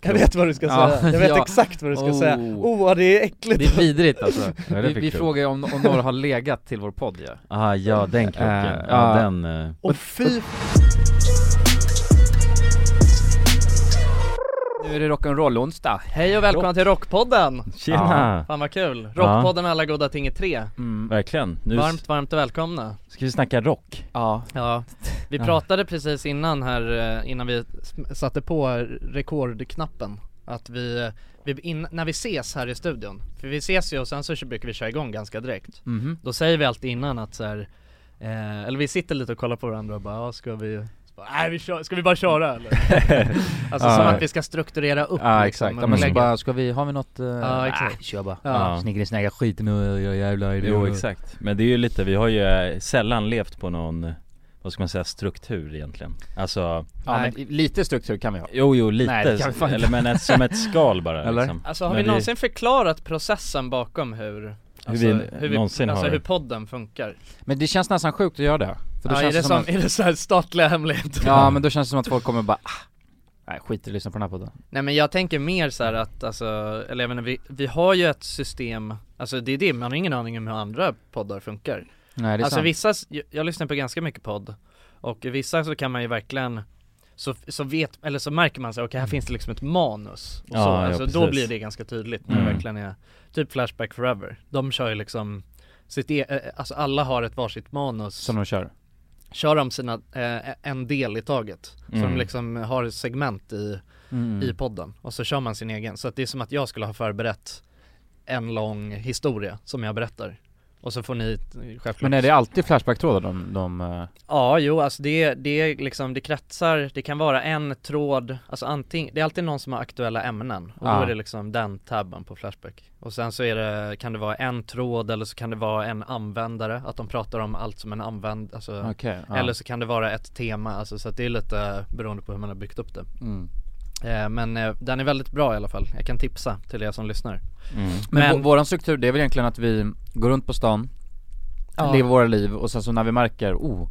Jag vet vad du ska Ja, säga, jag vet ja. exakt vad du ska Oh. säga. Oh, vad det är äckligt! Det är vidrigt alltså. det Vi, fick vi du. frågar ju om, om några har legat till vår podd ja. Ah, ja den krocken, Eh, ja ja. den eh. Och fy Nu är det rock'n'roll onsdag. Hej och välkomna till Rockpodden! Tjena! Fan vad kul! Rockpodden med alla goda ting i tre. Mm. Verkligen, nu s- Varmt, varmt välkomna. ska vi snacka rock Ja. Ja, vi Ja. pratade precis innan här, eh, innan vi sm- satte på rekordknappen, att vi, vi in, när vi ses här i studion, för vi ses ju och sen så brukar vi köra igång ganska direkt. Mm-hmm. Mhm. Då säger vi alltid innan att så här, eh, eller vi sitter lite och kollar på varandra och bara, ja, ska vi så bara, Nej vi kör, ska vi bara köra eller? alltså som Ja. att vi ska strukturera upp Ja liksom, exakt, ja, men så upplägget. bara, ska vi, har vi något? eh, Ja, exakt. ah, kör bara. Ja. Snickrig snackar skit nu, jag jävlar Jo exakt, men det är ju lite, vi har ju eh, sällan levt på någon, eh, vad ska man säga, struktur egentligen Alltså, Ja, men lite struktur kan vi ha. jo jo lite, Nej, det kan vi fan eller men ett, som ett skal bara Eller? liksom Alltså har Men vi någonsin förklarat processen bakom hur Alltså, vi någonsin alltså har- hur podden funkar? Men det känns nästan sjukt att göra det. För då Ja, är, känns det som, att, är det så här statliga hemligheter? ja men då känns det som att folk kommer bara ah, nej skit i att lyssna på den här podden. Nej men jag tänker mer så här att alltså, eller jag menar, vi, vi har ju ett system, alltså det är det, man har ingen aning om hur andra poddar funkar Nej det är Alltså sant. vissa, s- jag, jag lyssnar på ganska mycket podd och i vissa så kan man ju verkligen så, så vet, eller så märker man sig, okej Mm. här finns det liksom ett manus och Ja, så, ja, alltså då precis. blir det ganska tydligt när Mm. det verkligen är Typ Flashback Forever, de kör ju liksom sitt e- eh, alltså alla har ett varsitt manus Som de kör. kör de sina, eh, en del i taget. Så Mm. de liksom har ett segment i, Mm. i podden och så kör man sin egen. Så att det är som att jag skulle ha förberett en lång historia som jag berättar. Och så får ni eh, självklart Men är det alltid flashback-trådar de, de eh, Ja, jo, alltså det, det är liksom, det kretsar, det kan vara en tråd, alltså antingen, det är alltid någon som har aktuella ämnen och Ja. då är det liksom den tabben på Flashback. Och sen så är det, kan det vara en tråd eller så kan det vara en användare, att de pratar om allt som en användare, alltså okej. ja. eller så kan det vara ett tema, alltså, så att det är lite beroende på hur man har byggt upp det. Mm. Eh, men eh, den är väldigt bra i alla fall, jag kan tipsa till er som lyssnar. mm. Men, Men- vå- våran struktur det är väl egentligen att vi går runt på stan, Ja. lever våra liv och sen så när vi märker, oh,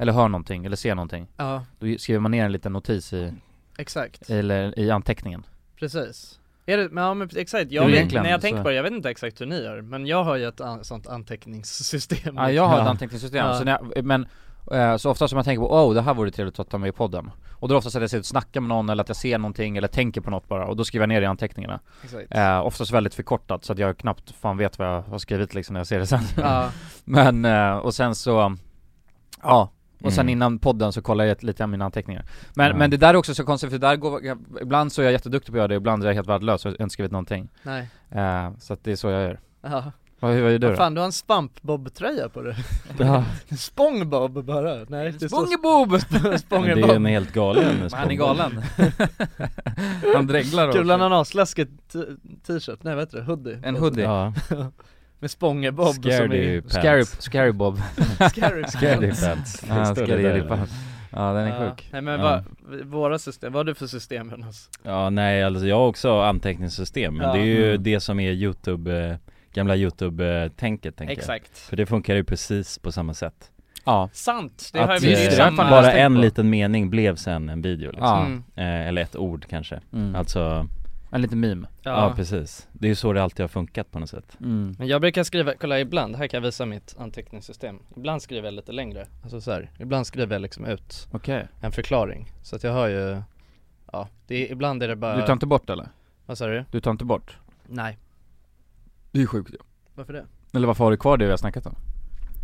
eller hör någonting eller ser någonting, Ja, då skriver man ner en liten notis i, exakt. eller i anteckningen. Precis. Är det, men ja men exakt, jag Det är vet, egentligen när jag så. tänker på det, jag vet inte exakt hur ni gör, men jag har ju ett an, sånt anteckningssystem Ja jag har ett Ja. anteckningssystem, Ja. så när jag, men eh, så ofta som jag tänker på oh det här vore trevligt att ta med i podden Och då är det oftast att jag sitter och snackar med någon eller att jag ser någonting eller tänker på något bara och då skriver jag ner det i anteckningarna Exakt. eh, Oftast väldigt förkortat så att jag knappt fan vet vad jag har skrivit liksom när jag ser det sen Ja, Men eh, och sen så Ja och sen Mm. innan podden så kollar jag lite av mina anteckningar Men, Ja. men det där är också så konstigt för där går, jag, ibland så är jag jätteduktig på att göra det, ibland är jag helt värdelös och har inte skrivit någonting nej. eh, Så att det är så jag gör Ja. Vad, hur gör du då? Fan du har en spampbob-tröja på dig. Ja. Spångbob bara, nej det står Spångebob! Men Det är ju en helt galen Han är galen Han dreglar Kul också ananasläsket t- t-shirt, nej vad heter det? Hoodie? En hoodie Ja, Med spångebob som scary är pants Scary, scary Bob Scary Scary pants, Det Ja, står det där. scary Bob Ja den är Ja. sjuk Nej men Ja. vad, våra system, vad har du för system Jonas? Ja nej alltså jag har också anteckningssystem men Ja. det är ju Mm. det som är youtube, eh, gamla youtube-tänket tänker jag Exakt För det funkar ju precis på samma sätt Ja, Sant, det Att, har eh, vi det är det har jag samma fan Bara tänkt en på. liten mening blev sen en video liksom. ja. Mm. eh, Eller ett ord kanske Mm. Alltså, ja. en liten meme Ja. precis Det är ju så det alltid har funkat på något sätt mm. Men jag brukar skriva, kolla ibland, här kan jag visa mitt anteckningssystem Ibland skriver jag lite längre, alltså så här. ibland skriver jag liksom ut Okej, en förklaring Så att jag har ju, ja, det är, ibland är det bara, du tar inte bort eller? vad sa du? Du tar inte bort? Nej, Det är sjukt varför det? Eller varför har du kvar det vi har snackat om?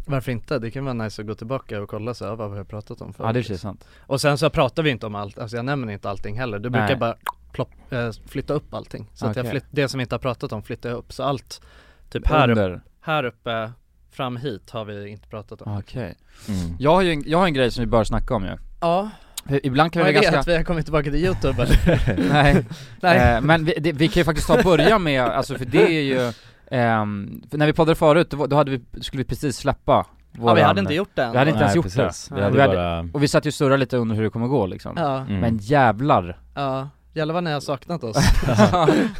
Varför inte? Det kan vara nice att gå tillbaka och kolla så här, vad har jag pratat om förut? Ja det är i och för sig sant Och sen så pratar vi inte om allt, alltså jag nämner inte allting heller. Du brukar Nej. jag bara plopp, eh, flytta upp allting. Så att jag Okej. flytt, det som vi inte har pratat om flyttar jag upp. Så allt, typ här, upp, Under, här uppe, fram hit har vi inte pratat om. Ah, okej mm. Jag har ju en, jag har en grej som vi bör snacka om ju Ja, För Ibland kan vad vi är det? vara ganska Att vi har kommit tillbaka till youtube eller? Nej, Nej. Eh, men vi, det, vi kan ju faktiskt ta och börja med, alltså för det är ju, ehm, för när vi poddade förut, då, var- då hade vi, skulle vi precis släppa våran, ja, vi hade inte gjort det än. vi hade inte ens Nej, gjort precis. det. Vi hade Vi hade- bara, och vi satt ju och surrade lite under hur det kommer gå liksom Ja, mm. Men jävlar, ja, Jävlar vad ni har saknat oss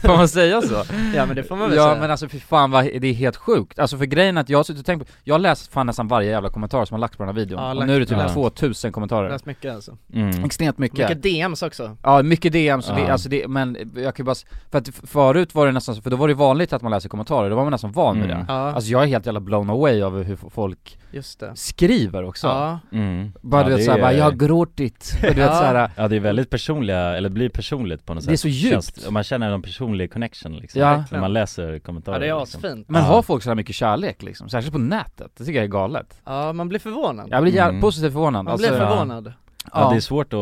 Får man säga så? Ja men det får man väl Ja säga men alltså fy fan vad, det är helt sjukt. Alltså för grejen är att jag har suttit och tänkt på, jag har läst fan nästan varje jävla kommentar som har lagts på den här videon. Ja, och lagt- nu är det typ ja. 2000 kommentarer. Läst mycket alltså Mm. Extremt mycket. Mycket DMs också Ja, mycket DM, så det, Ja. alltså det, men jag kan ju bara, s- för att f- förut var det nästan så, för då var det vanligt att man läser kommentarer, då var man nästan van vid Mm. det. Ja, Alltså jag är helt jävla blown away av hur f- folk just det skriver också. Ja, Mm. Bara Ja, du vet det såhär, är- bara, jag har gråtit, och du vet Ja. såhär, Ja det är väldigt personliga, eller blir personligt på något sätt Det är så djupt. Känns- man känner en personlig connection liksom Ja. När man läser kommentarer ja det är liksom. asfint men Ja. har folk så här mycket kärlek liksom? Särskilt på nätet, det tycker jag är galet. Ja man blir förvånad Jag blir jävligt Mm. positivt förvånad. Man blir Alltså, förvånad Ja det ja. är svårt att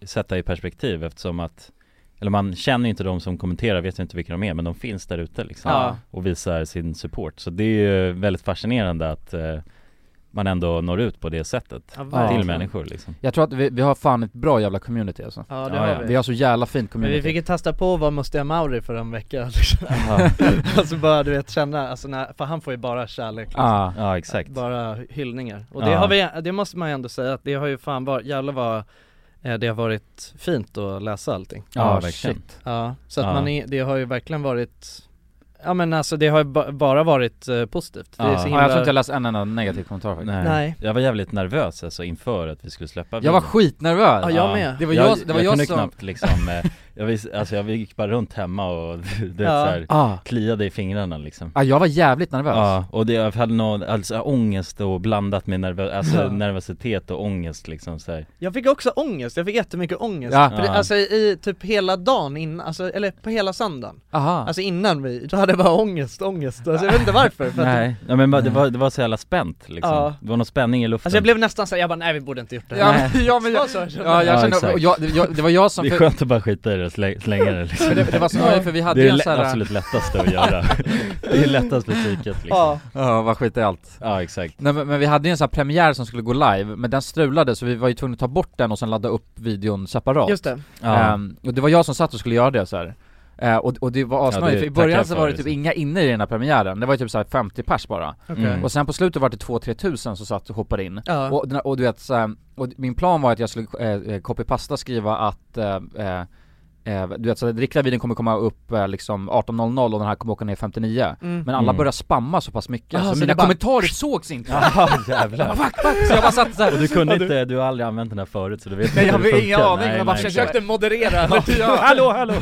eh, sätta i perspektiv eftersom att Eller man känner ju inte de som kommenterar, vet ju inte vilka de är men de finns där ute liksom Ja. Och visar sin support Så det är ju väldigt fascinerande att eh, man ändå når ut på det sättet Ja, Till verkligen. människor liksom Jag tror att vi, vi har fan ett bra jävla community alltså. Ja det Ja, ja. har Vi vi har så jävla fint Men community. vi fick ju testa på att vara Mustiga Mauri för en vecka liksom. Alltså bara du vet känna, alltså när, för han får ju bara kärlek liksom. Ja. Ja exakt Bara hyllningar. Och det Ja. har vi, det måste man ju ändå säga att det har ju fan varit, jävlar vad eh, det har varit fint att läsa allting. Ja, Ja, verkligen. shit. Ja, så att Ja. man är, det har ju verkligen varit Ja men alltså det har ju ba, bara varit eh, positivt. Det är Ja. så Ja, himla... jag tror inte jag läst en enda negativ kommentar faktiskt. Nej. Nej. Jag var jävligt nervös alltså inför att vi skulle släppa Jag var videon. skitnervös! Ja, jag med. Det var jag- det var jag kunde som- knappt liksom, eh, jag, vis, alltså jag gick bara runt hemma och du vet, Ja. så här, Ah. kliade i fingrarna liksom Ja, jag var jävligt nervös. Ja, och det, jag hade någon, alltså ångest och blandat med nervö, alltså Ja. nervositet och ångest liksom så här. Jag fick också ångest, jag fick jättemycket ångest. Ja. För det, Ja. alltså i typ hela dagen innan, alltså, eller på hela söndagen. Aha. Alltså innan vi, då hade jag bara ångest, ångest. Alltså jag vet inte varför. För att, Nej, ja, men bara- det var, det var så jävla spänt liksom Ja. Det var någon spänning i luften alltså jag blev nästan såhär, jag bara nej vi borde inte gjort det. Ja, Nej. men- ja, men jag, Så- så- ja, jag Ja, kände, exakt. och jag, det- jag, det var jag som, Det är för, skönt att bara skita i det och slä, slänga det liksom det, det var snarare för vi hade Det ju är en det sån här, absolut lättaste att göra Det är lättast för psyket liksom Ja, ja vad skit i allt exakt Nej men, men vi hade ju en sån här premiär som skulle gå live, men den strulade så vi var ju tvungna att ta bort den och sen ladda upp videon separat Just det. Ja, Ehm, Och det var jag som satt och skulle göra det så här. Eh, och, och det var asnödigt, det för i början tackar så för var det det, typ så. inga inne i den här premiären, det var ju typ så här 50 pers bara Mm. Och sen på slutet var det 2-3 tusen som satt och hoppade in Ja. Och, den- och du vet, så här, och min plan var att jag skulle eh, eh, copy-pasta skriva att eh, eh, eh, du vet, så den riktiga videon kommer komma upp eh, liksom 18.00 och den här kommer åka ner 59 Mm. Men alla Mm. började spamma så pass mycket, Ah, så, så mina det bara- kommentarer sågs inte ah, jävlar Så jag bara satt Och såhär du kunde inte, du har aldrig använt den här förut så du vet Nej inte jag hur det har ingen funkar. aning, Nej, jag bara nej, försökte exakt. moderera Hallå hallå!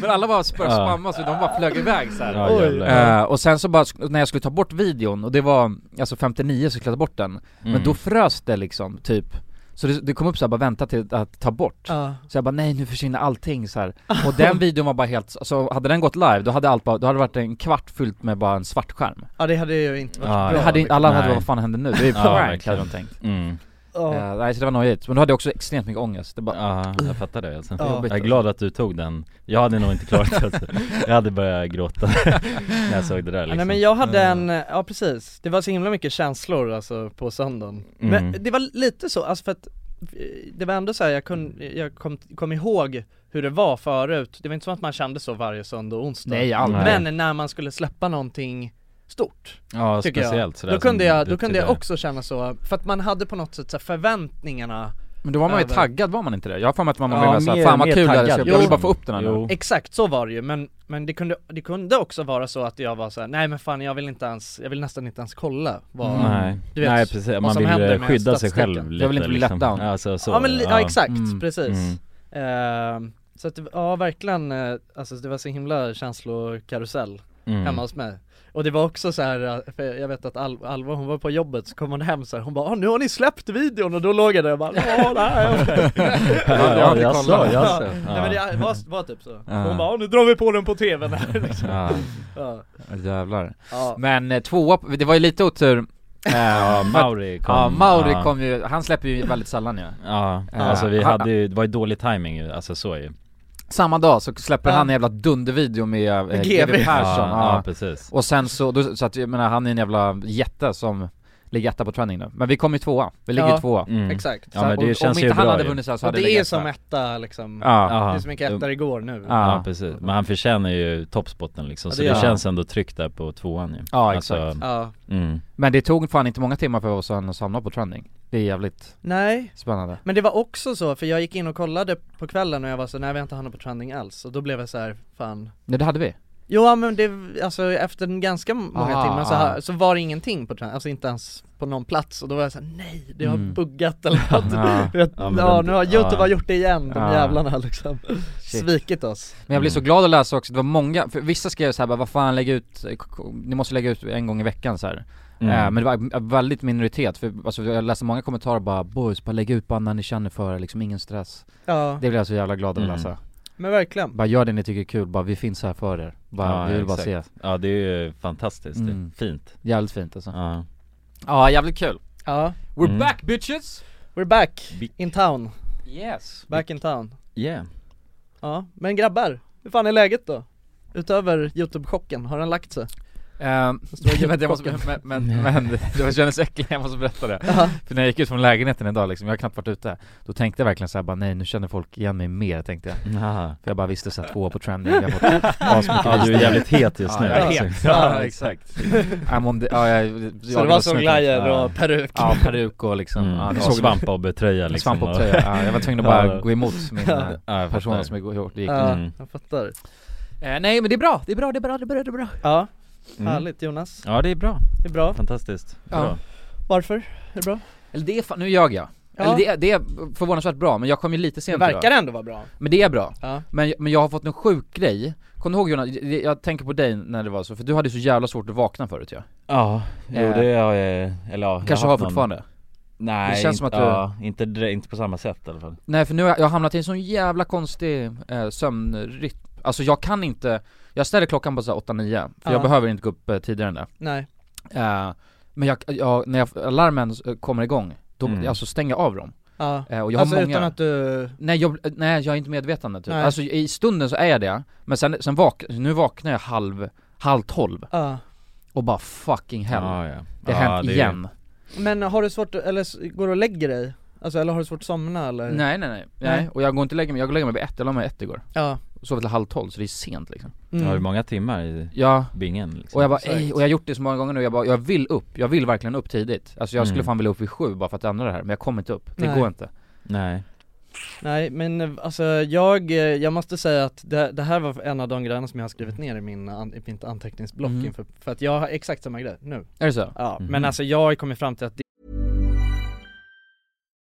Men alla bara började Ja. spamma så de bara flög iväg såhär Ja, Oj. jävlar. Eh, och sen så bara, sk- när jag skulle ta bort videon, och det var alltså 59 så skulle jag ta bort den, men Mm. då frös det liksom, typ Så det, det kom upp såhär, bara vänta till att ta bort Ja. Så jag bara nej nu försvinner allting så här. och den videon var bara helt, alltså hade den gått live då hade allt bara, då hade det varit en kvart fyllt med bara en svart skärm ja det hade ju inte varit Ja, det bra. hade, inte- Alla hade bara, nej. vad fan händer nu? Det är ju Ja, prank hade verkligen. de tänkt Mm. Ja. Eh, Nej så det var nojigt, men då hade jag också extremt mycket ångest, det bara Ja, jag fattar det alltså. Ja. Jag är glad att du tog den, jag hade nog inte klarat det alltså. Jag hade börjat gråta när jag såg det där Ja, liksom. Nej men jag hade en, ja precis, det var så himla mycket känslor alltså på söndagen Mm. Men det var lite så, alltså för att eh, det var ändå så här, jag, kun, jag kom, kom ihåg hur det var förut, det var inte som att man kände så varje söndag och onsdag Nej aldrig Nej. Men när man skulle släppa någonting stort, ja, tycker jag, speciellt sådär då kunde som jag, du då kunde jag tyckte. också känna så, för att man hade på något sätt så här förväntningarna Men då var man ju Över. taggad var man inte det? Jag har för mig att man var Ja, mer såhär, mer- fan vad mer kul det här taggad. ska bli, jag vill Jo. bara få upp den här nu Jo. Exakt, så var det ju, men, men det, kunde, det kunde också vara så att jag var så här, nej men fan jag vill inte ens, jag vill nästan inte ens kolla vad Mm. Nej, Du vet, nej precis, man som vill händer eh, med skydda sig statistiken. själv lite Jag vill inte bli liksom. let down. alltså, så, ja men li- ja, exakt, Mm. precis Mm. Ehm, Så att, det- ja verkligen, eh, alltså det var så himla känslokarusell Mm. hemma hos mig Och det var också så här, eh, för jag vet att Al- Alva hon var på jobbet så kom hon hem så här, hon bara "Ah, nu har ni släppt videon och då låg jag där och bara "Ja, nej." Ja, Jag har ja, inte jag kollat. sa, jag sa Nej men det var, var typ så, Ja. hon bara "Ah, nu drar vi på den på tvn här liksom. Ja, ja. jävlar Ja. Men eh, tvåa, på- det var ju lite otur Ja, Mauri kom Ja, Mauri ja. kom ju, han släpper ju väldigt sällan ju Ja, Ja. alltså vi Han- hade ju, det var ju dålig timing ju, alltså så ju Samma dag så släpper Ja. han en jävla dundervideo med eh, Med GW GB. Persson ja, ja. ja precis Och sen så, då, så att jag menar han är en jävla jätte som ligger etta på trending nu Men vi kom ju tvåa, vi ligger Ja. tvåa Mm. Exakt Så Ja men om, det om känns inte ju han bra hade ju. vunnit så här så Och hade jag det är legat som etta. etta liksom, Ja, det är Ja, som mycket ettor igår nu Ja. Ja precis, men han förtjänar ju toppspotten liksom, Ja, så det det gör han. känns ändå tryggt där på tvåan ju Ja, exakt. Ja, mm. Äh, men det tog fan inte många timmar för oss att hamna på trending Det är jävligt Nej, spännande. men det var också så, för jag gick in och kollade på kvällen och jag var så nej vi har inte hamnat på trending alls och då blev jag så här, fan Nej det hade vi. Jo ja, men det, alltså efter en ganska många Ah, timmar så, ah. ha- så var det ingenting på trend, alltså inte ens på någon plats och då var jag såhär, nej det har Mm. buggat eller något Ja. ja, Ja, men ja den- nu har youtube ja. har gjort det igen, de Ja. jävlarna liksom Svikit oss Men jag blev så Mm. glad att läsa också, det var många, för vissa skrev så här bara, vad fan lägg ut, k- k- ni måste lägga ut en gång i veckan så här. Mm. Eh, men det var en väldigt minoritet, för alltså, jag läste många kommentarer bara 'boys, bara lägg ut bara när ni känner för det, liksom ingen stress' Ja, Det blev jag så jävla glad över att Mm. läsa men verkligen Bara gör det ni tycker är kul, bara vi finns här för er bara, Ja, Vi vill bara se exakt. Ja det är ju fantastiskt, det är Mm. fint Jävligt fint alltså ja. Ja, jävligt kul Ja, We're Mm. back bitches! we're back, Vi- in town, Yes! back in town Yeah Ja, men grabbar, hur fan är läget då? Utöver youtube-chocken, har den lagt sig? men, Ehm, jag måste, men, men, men det kändes äckligt, jag måste berätta det Ja, För när jag gick ut från lägenheten idag liksom, jag har knappt varit ute Då tänkte jag verkligen såhär bara nej nu känner folk igen mig mer tänkte jag Aha. För jag bara visste såhär två på trending, jag har fått asmycket Ja du är jävligt het just nu Ja, jag är alltså. het. ja exakt I'm on the, ja, jag, så det var songlajer Ja. och peruk Ja, peruk och liksom, Mm. ja, det var och svampa och betröja liksom, liksom svamp och tröja, ja, jag var tvungen att bara Ja. gå emot min Ja. eh, Ja, jag person fattar. som jag gick Ja, Mm. jag fattar eh, Nej men det är bra, det är bra, det är bra, det är bra, det är bra Ja, Mm. härligt Jonas, Ja det är bra, det är bra fantastiskt Ja. bra. Varför? Är det bra? Eller det är fan, nu ljög jag Ja. Eller det, är- det är förvånansvärt bra, men jag kom ju lite Det sent verkar idag. ändå vara bra Men det är bra, Ja, men, men jag har fått en sjuk grej Kommer du ihåg Jonas, jag, jag tänker på dig när det var så, för du hade ju så jävla svårt att vakna förut ja Ja, jo Eh, det har jag, eller ja, jag Kanske har haft någon- fortfarande Nej, Det känns som inte, att du- ja, inte, dre- inte på samma sätt i alla fall Nej för nu har jag, jag har hamnat i en sån jävla konstig eh, sömnrytm Alltså jag kan inte, jag ställer klockan på så här 8-9, för Ja. jag behöver inte gå upp eh, tidigare än det nej, Eh, Men jag, jag, när jag, alarmen eh, kommer igång, då, Mm. alltså stänger jag av dem ja Eh, Och jag Alltså har många utan att du, Nej jag, nej jag är inte medvetande typ, Nej. alltså i stunden så är jag det, men sen, sen vak, nu vaknar jag halv, halv tolv ja och bara fucking hell Ja, ja. Det ja, har hänt är- igen Men har du svårt, att- eller s- går du och lägger dig? Alltså eller har du svårt att somna eller? nej, nej nej nej, Nej. och jag går inte och lägger mig, jag går och lägger mig vid ett, jag la mig ett igår Ja Sov till halv tolv så det är sent liksom Ja, det är mm. många timmar i Ja, bingen liksom. och jag bara exakt. ej, och jag har gjort det så många gånger nu, jag bara, jag vill upp, jag vill verkligen upp tidigt Alltså jag skulle Mm. fan vilja upp vid sju bara för att ändra det här, men jag kommer inte upp, det Nej. går inte Nej Nej men eh, alltså jag, eh, jag måste säga att det, det här var en av de grejerna som jag har skrivit ner i, min, an, i mitt anteckningsblock Mhm. inför, för att jag har exakt samma grej nu Är det så? Ja, Mhm. men alltså jag har kommit fram till att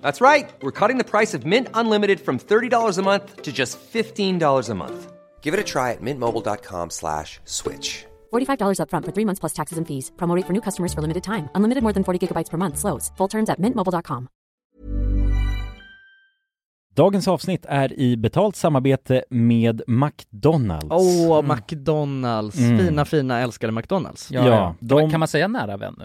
That's right. We're cutting the price of Mint Unlimited from $30 a month to just $15 a month. Give it a try at mintmobile.com slash switch. $45 upfront for three months plus taxes and fees. Promo rate for new customers for limited time. Unlimited more than 40 gigabytes per month. Slows. Full terms at mintmobile.com. Dagens avsnitt är i betalt samarbete med McDonalds. Åh, Mm. McDonalds, Mm. fina fina älskade McDonalds Ja, ja. de... de- Kan man säga nära vän nu?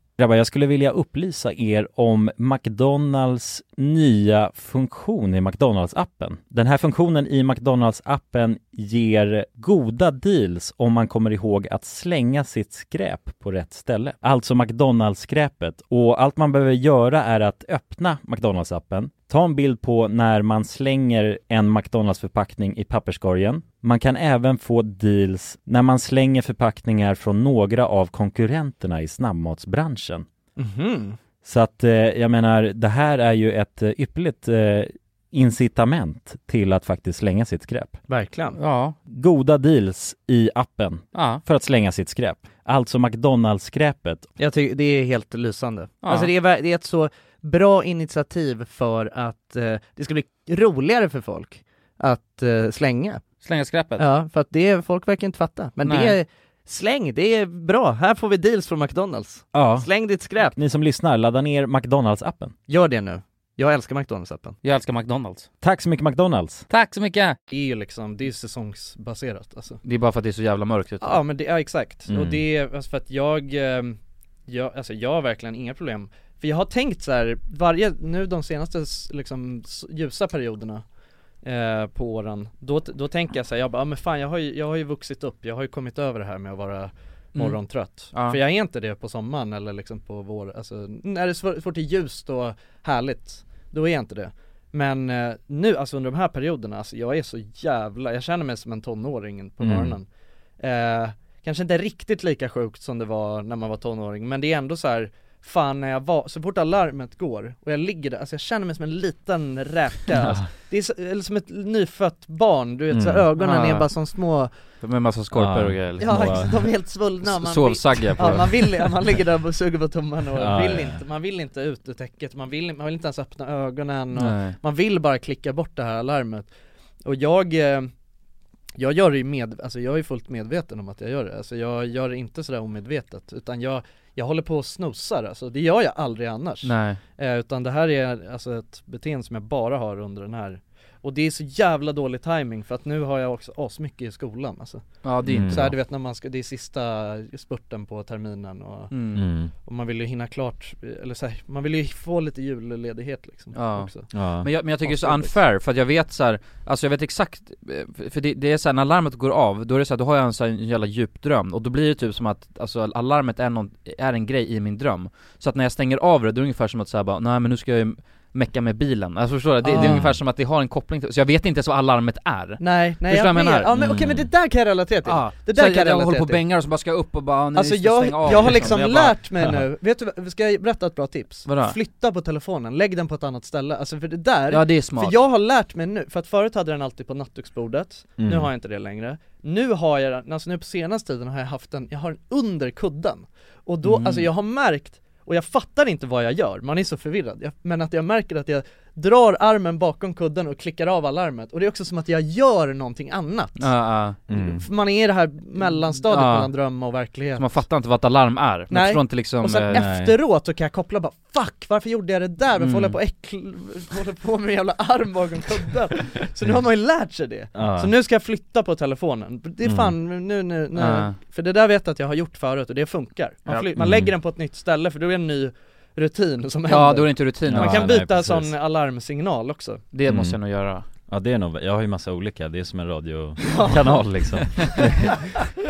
Grabbar, jag skulle vilja upplysa er om McDonalds nya funktion i McDonalds-appen. Den här funktionen i McDonalds-appen ger goda deals om man kommer ihåg att slänga sitt skräp på rätt ställe. Alltså McDonalds-skräpet. Och allt man behöver göra är att öppna McDonalds-appen, ta en bild på när man slänger en McDonalds-förpackning i papperskorgen. Man kan även få deals när man slänger förpackningar från några av konkurrenterna i snabbmatsbranschen. Mhm. Så att eh, jag menar, det här är ju ett eh, ypperligt eh, incitament till att faktiskt slänga sitt skräp. Verkligen. Ja, Goda deals i appen ja, för att slänga sitt skräp. Alltså McDonalds-skräpet. Jag tycker det är helt lysande. Ja. Alltså det är, ver- det är ett så bra initiativ för att eh, det ska bli roligare för folk att eh, slänga. slänga skräpet. Ja, för att det, folk verkar inte fatta. Men det Nej. är, släng, det är bra. Här får vi deals från McDonalds. Ja. Släng ditt skräp. Ni som lyssnar, ladda ner McDonalds-appen. Gör det nu. Jag älskar McDonalds-appen. Jag älskar McDonalds. Tack så mycket McDonalds! Tack så mycket! Det är ju liksom, det är säsongsbaserat alltså. Det är bara för att det är så jävla mörkt ute. Ja men det, ja exakt, Mm. och det, är- alltså för att jag, ehm, jag, alltså jag har verkligen inga problem För jag har tänkt så här, varje, nu de senaste s- liksom s- ljusa perioderna eh, på åren, då, t- då tänker jag så här, jag bara, ja, men fan jag har, ju, jag har ju vuxit upp, jag har ju kommit över det här med att vara morgontrött Ja. För jag är inte det på sommaren eller liksom på vår, alltså när det svår- svårt är ljust och härligt, då är jag inte det men eh, nu, alltså under de här perioderna, alltså jag är så jävla, jag känner mig som en tonåring på Mm. morgonen Eh, kanske inte riktigt lika sjukt som det var när man var tonåring, men det är ändå så här Fan när jag var, så fort alarmet går och jag ligger där, alltså jag känner mig som en liten räka alltså, Det är så, eller som ett nyfött barn, du vet så Mm. ögonen är Ja. bara som små, Med massa skorpor Ja. och grejer liksom. ja Och, de är helt svullna s- man vill, Sovsagge på ja, man, vill, ja, man ligger där och suger på tummarna och Ja, vill ja, ja. inte, man vill inte ut ur täcket, man vill, man vill inte ens öppna ögonen och Nej. man vill bara klicka bort det här alarmet Och jag, eh, jag gör det ju med, alltså jag är fullt medveten om att jag gör det Alltså jag gör det inte sådär omedvetet utan jag, jag håller på och snosar alltså, det gör jag aldrig annars Nej. eh, Utan det här är alltså ett beteende som jag bara har under den här Och det är så jävla dålig timing för att nu har jag också asmycket i skolan alltså Ja det är Mm. inte Så här, du bra. vet när man ska, det är sista spurten på terminen och, Mm. Mm. och man vill ju hinna klart, eller så här, man vill ju få lite julledighet liksom Ja. också Ja. Men jag, men jag tycker det är så Avslutet. unfair, för att jag vet så här, alltså jag vet exakt, eh, för det, det är så här, när alarmet går av, då är det så här, då har jag en så här, en jävla djup dröm, och då blir det typ som att, alltså alarmet är, någon, är en grej i min dröm Så att när jag stänger av det, då är det ungefär som att säga bara, nej men nu ska jag ju mecka med bilen, alltså förstår du? Det, det är Ah. ungefär som att det har en koppling till, så jag vet inte ens vad alarmet är Nej, nej Förstår jag, vad jag menar? menar? Ja men Mm. okej men det där kan jag relatera till Ja, Ah. Det där så kan jag jag, jag håller relatera på och till. bängar och så bara ska jag upp och bara, nej, Alltså just det, jag, stäng av, jag har liksom Jag bara, lärt mig nu, vet du vad- ska jag berätta ett bra tips? Vadå? Flytta på telefonen, lägg den på ett annat ställe, alltså för det där, Ja det är smart för jag har lärt mig nu, för att förut hade den alltid på nattduksbordet, nu Mm. har jag inte det längre Nu har jag den, alltså nu på senaste tiden har jag haft den, jag har den under kudden Och då, Mm. alltså jag har märkt, och jag fattar inte vad jag gör, man är så förvirrad, jag, men att jag märker att jag drar armen bakom kudden och klickar av alarmet, och det är också som att jag gör någonting annat Ja, ja. Mm. För man är i det här mellanstadiet Ja. mellan dröm och verklighet Så man fattar inte vad ett alarm är, man Nej. förstår inte liksom Och sen eh, nej. efteråt så kan jag koppla bara 'fuck, varför gjorde jag det där? Varför Mm. håller jag på och äckl... håller på med en jävla arm bakom kudden? Så nu har man ju lärt sig det Ja. Så nu ska jag flytta på telefonen, det är Mm. fan nu, nu, nu Ja. För det där vet jag att jag har gjort förut och det funkar Man, fly- man Mm. lägger den på ett nytt ställe för då är det en ny rutin som händer Ja då är det inte rutin Man Ja, kan nej, byta precis. sån alarmsignal också Det Mm. måste jag nog göra Ja det är nog, jag har ju massa olika, det är som en radiokanal liksom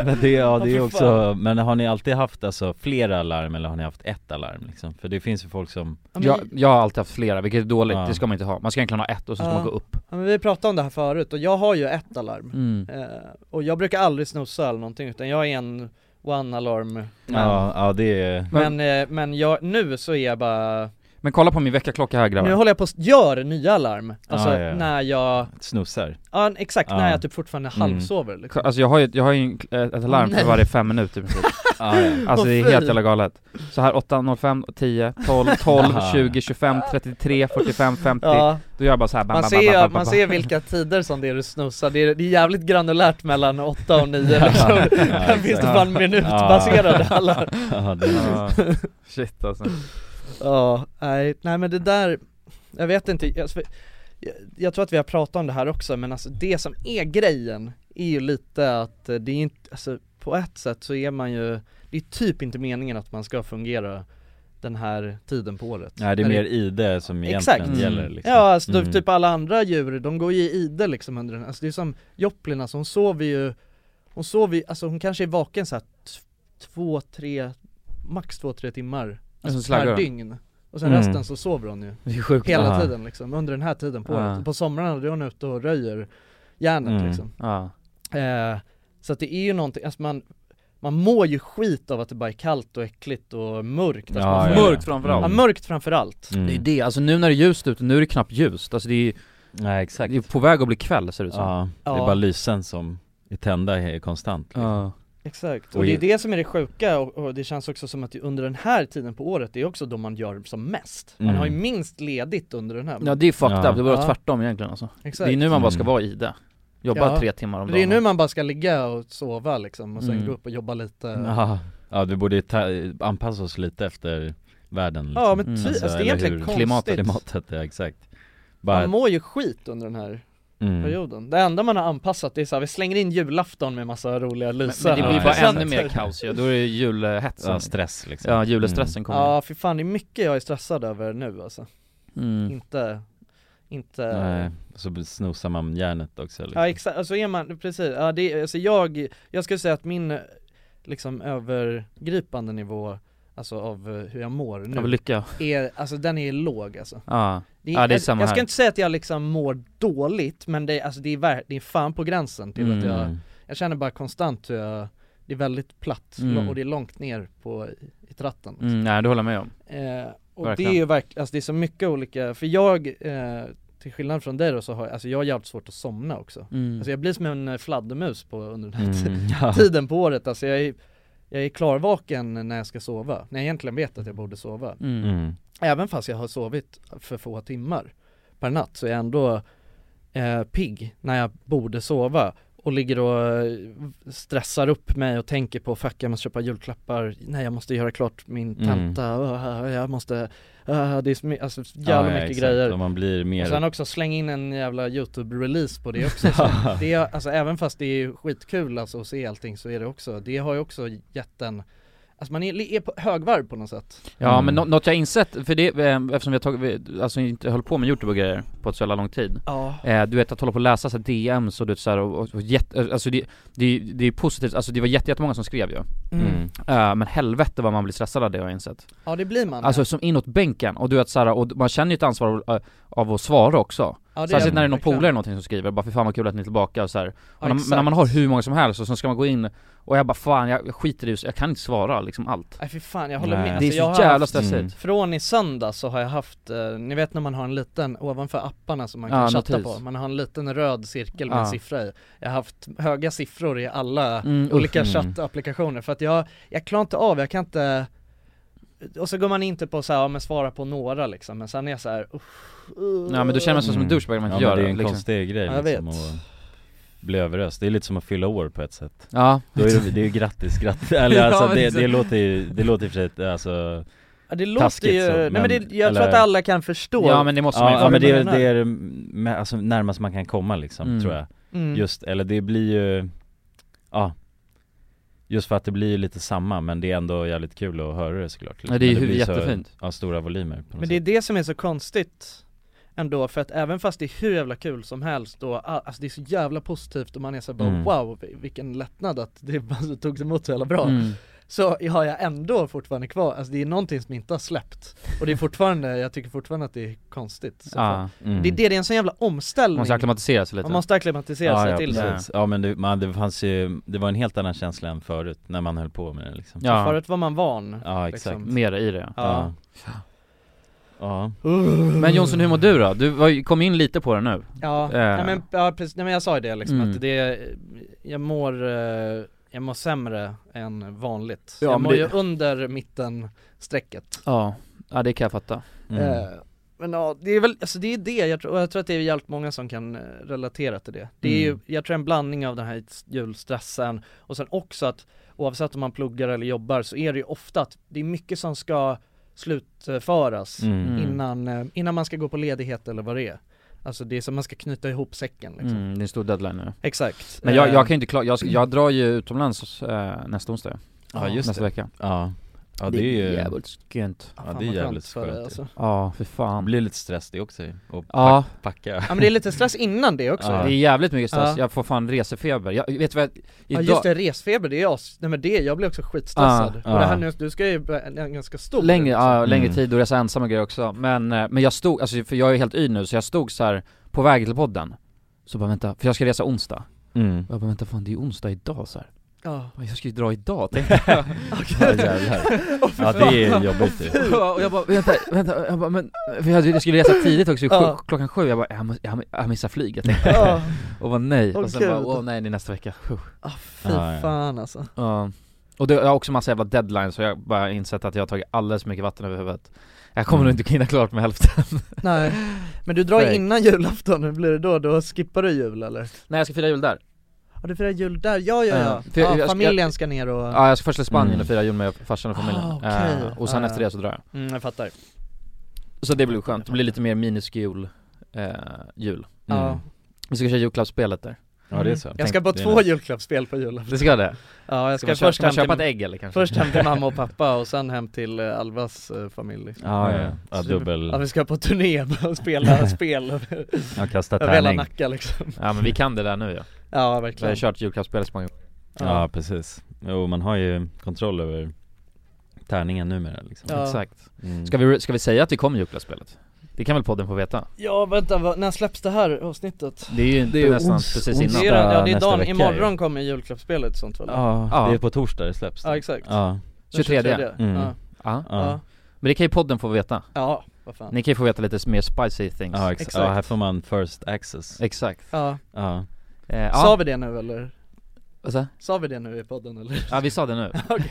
Men det, ja, det är fy också, men har ni alltid haft alltså flera alarm eller har ni haft ett alarm liksom? För det finns ju folk som, ja, men, jag, jag har alltid haft flera, vilket är dåligt, Ja. det ska man inte ha. Man ska egentligen ha ett och sen ska Ja. man gå upp ja, men vi pratade om det här förut och jag har ju ett alarm mm. eh, Och jag brukar aldrig snosa eller någonting utan jag är en one alarm ja, ja det är Men, eh, men jag, nu så är jag bara, Men kolla på min väckarklocka här grabbar nu håller jag på att göra nya alarm Alltså Ja, ja, ja. när jag, snussar ja exakt Ja. när jag typ fortfarande Mm. halvsover liksom. Alltså jag har ju, jag har ju en, ett alarm Nej. för varje fem minuter i princip ja, ja. Alltså det är Åh, fy. helt jävla galet Så här 8, 05, 10, 12, 12, Aha. 20, 25, 33, 45, 50 Ja, Då gör jag bara så här bam, man bam, ser, ju- bam, bam, man bam, ser vilka tider som det är du snusar, det är, det är jävligt granulärt mellan 8 och 9 liksom Där finns det Ja. fan minutbaserade alarm Ja, det är, Ja. Shit alltså Ja, nej, nej men det där, jag vet inte, jag, jag, jag tror att vi har pratat om det här också men alltså det som är grejen är ju lite att eh, det är inte, alltså på ett sätt så är man ju, det är typ inte meningen att man ska fungera den här tiden på året Nej det är När mer ide som egentligen Exakt. gäller liksom. Ja alltså Mm. typ alla andra djur, de går ju i ide liksom under den, alltså det är som Joplin, alltså hon sover ju, hon sover ju, alltså hon kanske är vaken såhär t- två, tre, max två, tre timmar Alltså, alltså, slaggar per hon. dygn Och sen Mm. resten så sover hon ju, Det är sjukt hela Aha. tiden liksom, under den här tiden på Ja. året. På somrarna då är hon ute och röjer järnet Mm. liksom Ja, eh, Så att det är ju någonting, alltså man, man mår ju skit av att det bara är kallt och äckligt och mörkt typ- alltså, Ja, man ja, får- ja. Mörkt framförallt. Ja, mörkt framförallt Mm. det är det, alltså nu när det är ljust ute, nu är det knappt ljust, alltså det är, Nej exakt det är på väg att bli kväll ser det ut som Ja, det är Ja. bara lysen som är tända he- konstant liksom. Ja. Exakt, Och och, det ju- är det som är det sjuka och, och det känns också som att under den här tiden på året, det är också då man gör som mest Man Mm. har ju minst ledigt under den här ja det är fucked Ja. up, det borde vara Ja. tvärtom egentligen alltså. Exakt Det är nu man bara ska Mm. vara i det Jobba Ja. tre timmar om dagen Det är nu man bara ska ligga och sova liksom och sen Mm. gå upp och jobba lite Ja, ja vi borde ju ta, anpassa oss lite efter världen liksom. Ja men Mm. ty, Alltså, alltså, det är eller egentligen hur? konstigt klimatet, klimatet, ja exakt Bara, Man mår ju skit under den här mm. perioden Det enda man har anpassat det är så här, vi slänger in julafton med massa roliga Men, lyser men det blir Ja, bara exakt. ännu mer kaos ju, då är det julhetsen ja, stress liksom Ja, julestressen kommer Ja för fan det är mycket jag är stressad över nu alltså, mm. inte, inte mm. Nej, så snosar man järnet också liksom. Ja exakt, alltså är man, precis, ja det, alltså jag, jag skulle säga att min eh, liksom övergripande nivå Alltså av eh, hur jag mår nu, Av lycka, är, alltså den är låg alltså ja det Ja, det är jag, samma jag ska här. inte säga att jag liksom mår dåligt, men det, är- alltså det är, ver- det är fan på gränsen till att jag, Mm. jag känner bara konstant hur jag, det är väldigt platt Mm. och det är långt ner på, i, i tratten liksom. mm, nej det håller jag med om Eh, och Verkligen. det är ju verkligen, alltså det är så mycket olika, för jag, eh, till skillnad från dig då så har jag, alltså jag har jävligt svårt att somna också mm. Alltså jag blir som en eh, fladdermus på, under den här Mm. Ja. tiden på året, alltså jag är, jag är klarvaken när jag ska sova, när jag egentligen vet att jag borde sova mm. Mm. Även fast jag har sovit för få timmar per natt så är jag ändå eh, pigg när jag borde sova och ligger och eh, stressar upp mig och tänker på fuck jag måste köpa julklappar, nej jag måste göra klart min Mm. tenta, Öh, jag måste, Öh, det är så my- alltså, jävla ja, mycket exakt. grejer Och man blir mer och sen också slänga in en jävla youtube-release på det också så det är, alltså även fast det är skitkul alltså att se allting så är det också, det har ju också gett en Alltså man är, är på högvarv på något sätt Ja Mm. men nå- något jag insett, för det, eh, eftersom vi har tagit, vi- alltså inte höll på med youtube och grejer på ett så jävla lång tid Ja eh, Du vet att hålla på och läsa så här DMs och du vet så här, och, och, och jätte, alltså det, det, det är positivt, alltså det var jätte, jättemånga som skrev ju mm. mm. Eh, Men helvete vad man blir stressad av det har jag insett Ja det blir man Alltså som inåt bänken, och du vet så här, och man känner ju ett ansvar av, eh, av att svara också ja, det Särskilt gör när det är man någon verkligen. polare eller någonting som skriver bara för fan vad kul att ni är tillbaka och så här. Ja, Och när, men när man exakt. har hur många som helst och så ska man gå in och jag bara fan jag, jag skiter i det, så jag kan inte svara liksom allt Nej fy fan jag håller Nej. med, Det alltså, är jag så har jävla haft, stressigt Mm. Från i söndag så har jag haft, eh, ni vet när man har en liten, ovanför apparna som man Ja, kan chatta notis. på, man har en liten röd cirkel med Ja. en siffra i Jag har haft höga siffror i alla Mm, usch. olika Mm. chattapplikationer för att jag, jag klarar inte av, jag kan inte och så går man inte på så här, ja, men svara på några liksom, men sen är jag så här, uff, uh, Ja men då känner man sig som en Mm. douchebag om man ja, inte gör men det det är en liksom. konstig grej Ja, jag liksom, vet. att bli överöst, det är lite som att fylla år på ett sätt Ja, Då är det, det är ju grattis, grattis, eller Ja, alltså det, exakt. det låter ju, det låter i och för sig alltså ja, det låter taskigt ju, så, nej men det, men- jag eller- tror att alla kan förstå ja men det måste man ju Ja, ja, ja men det är, menar. det är med, alltså, närmast man kan komma liksom Mm. tror jag Mm. Just, eller det blir ju, ja Just för att det blir ju lite samma men det är ändå jävligt kul att höra det såklart liksom. Ja, det är Men ju blir jättefint. så, Ja stora volymer på något Men det är det som är så konstigt ändå, för att även fast det är hur jävla kul som helst då, ah, alltså det är så jävla positivt och man är så här bara Mm. wow vil- vilken lättnad att det alltså, togs emot så jävla bra mm. Så har jag ändå fortfarande kvar, alltså det är någonting som inte har släppt Och det är fortfarande, jag tycker fortfarande att det är konstigt så fan. ja. sätt. Mm. Det är det, det är en sån jävla Man omställning måste acklimatisera sig lite Man måste acklimatisera ja, sig ja, till det precis. ja men det, man, det fanns ju, det var en helt annan känsla än förut när man höll på med det liksom För Ja, Förut var man van Ja, exakt liksom. mer i det Ja. Ja. Ja. Men Jonsson hur mår du då? Du var ju- kom in lite på det nu Ja, Eh. nej men, ja precis, nej men jag sa ju det liksom Mm. att det, jag mår, eh, jag mår sämre än vanligt Ja, Jag men mår det- ju under mittenstrecket Ja, ja det kan jag fatta Mm. eh, Men ja, det är väl, alltså det är det, jag tror, och jag tror att det är jävligt många som kan eh, relatera till det Det är Mm. ju, jag tror en blandning av den här julstressen och sen också att oavsett om man pluggar eller jobbar så är det ju ofta att det är mycket som ska slutföras Mm. Mm. innan, eh, innan man ska gå på ledighet eller vad det är Alltså det är som man ska knyta ihop säcken liksom. Mm, det är en stor deadline nu Exakt Men jag, Eh, jag kan ju inte klara, jag, ska- jag drar ju utomlands eh, nästa onsdag Ja, just Nästa det. vecka Ja, ja det är ju jävligt skönt fan, det är vad skönt jävligt för dig, skönt ju. alltså. Ja, för Det fan blir lite stress det också ju, och Ja, pack, packa Ja men det är lite stress Eh, innan det också Ja. det är jävligt mycket stress, Ja. jag får fan resefeber Jag vet du vad, jag- Ja idag, just det, resfeber det är jag, nej men det, jag blir också skitstressad Ja, Och det ja. här nu, du ska ju börja- en ganska stor längre, liksom. ja, längre Mm. tid och resa ensam och grejer också Men, eh, men jag stod, alltså för jag är helt yr nu så jag stod så här på väg till podden Så bara vänta, för jag ska resa onsdag mm. Och jag bara vänta fan det är onsdag idag så här. ja. Fan, Jag ska ju dra idag tänkte jag ja, jävlar. ja det är jobbigt ju och jag bara, vänta, vänta, jag bara, men, för jag, jag skulle resa tidigt också, sju, Ja. klockan sju, jag bara, jag, må- jag, jag missar flyget tänkte jag. Ja, Och bara nej, Åh, och sen bara, gud. åh nej det är nästa vecka Puh. ah, fy Ja, ja. fan alltså Ja. Och det, jag har också massa jävla deadlines så jag har bara insett att jag har tagit alldeles för mycket vatten över huvudet Jag Mm. kommer nog inte hinna klart med hälften Nej, men du drar Nej. innan julafton, hur blir det då? Då skippar du jul eller? Nej jag ska fira jul där, Ja du firar jul där, ja ja ja, Ja, för jag- ja jag- familjen ska ner och... ja jag ska först till Spanien Mm. och fira jul med farsan och familjen Ah, okej. Eh, Och sen Ja, efter ja. det så drar jag Mm, jag fattar Så det blir skönt, det blir lite mer miniskjul eh, jul Mm. Ja. Vi ska köra julklappsspelet där Ja det är så Jag ska på Det är två nice. julklappsspel på julafton Det ska det? Ja jag Ska, ska, man, först först ska man hem köpa till ett ägg eller kanske? Först hem till mamma och pappa och sen hem till eh, Alvas eh, familj Ja, ja, ja Så det- dubbel, Ja vi ska på turné och spela spel ja kasta över hela tärning Nacka liksom Ja men vi kan det där nu ja, Ja vi har verkligen kört julklappsspelet så många gånger Ja precis, jo man har ju kontroll över tärningen numera liksom Ja. Exakt mm. ska vi, ska vi säga att vi kommer julklappsspelet? Det kan väl podden få veta? Ja vänta, vad- när släpps det här avsnittet? Det är ju inte Det är nästan ons- precis ons- innan Det är, den- ja, det är nästa dagen, vecka, imorgon kommer julklappsspelet sånt väl? Ja, Ja. det är på torsdag det släpps Ja, exakt Ja, Den 23. Mm. Ja. Ja. Ja. ja, Men det kan ju podden få veta ja, vad fan Ni kan ju få veta lite mer spicy things ja, ex- Exakt. ja här får man first access Exakt Ja, Ja, eh, sa ja. vi det nu eller? Vad sa- Sa vi det nu i podden eller? ja, vi sa det nu Okej.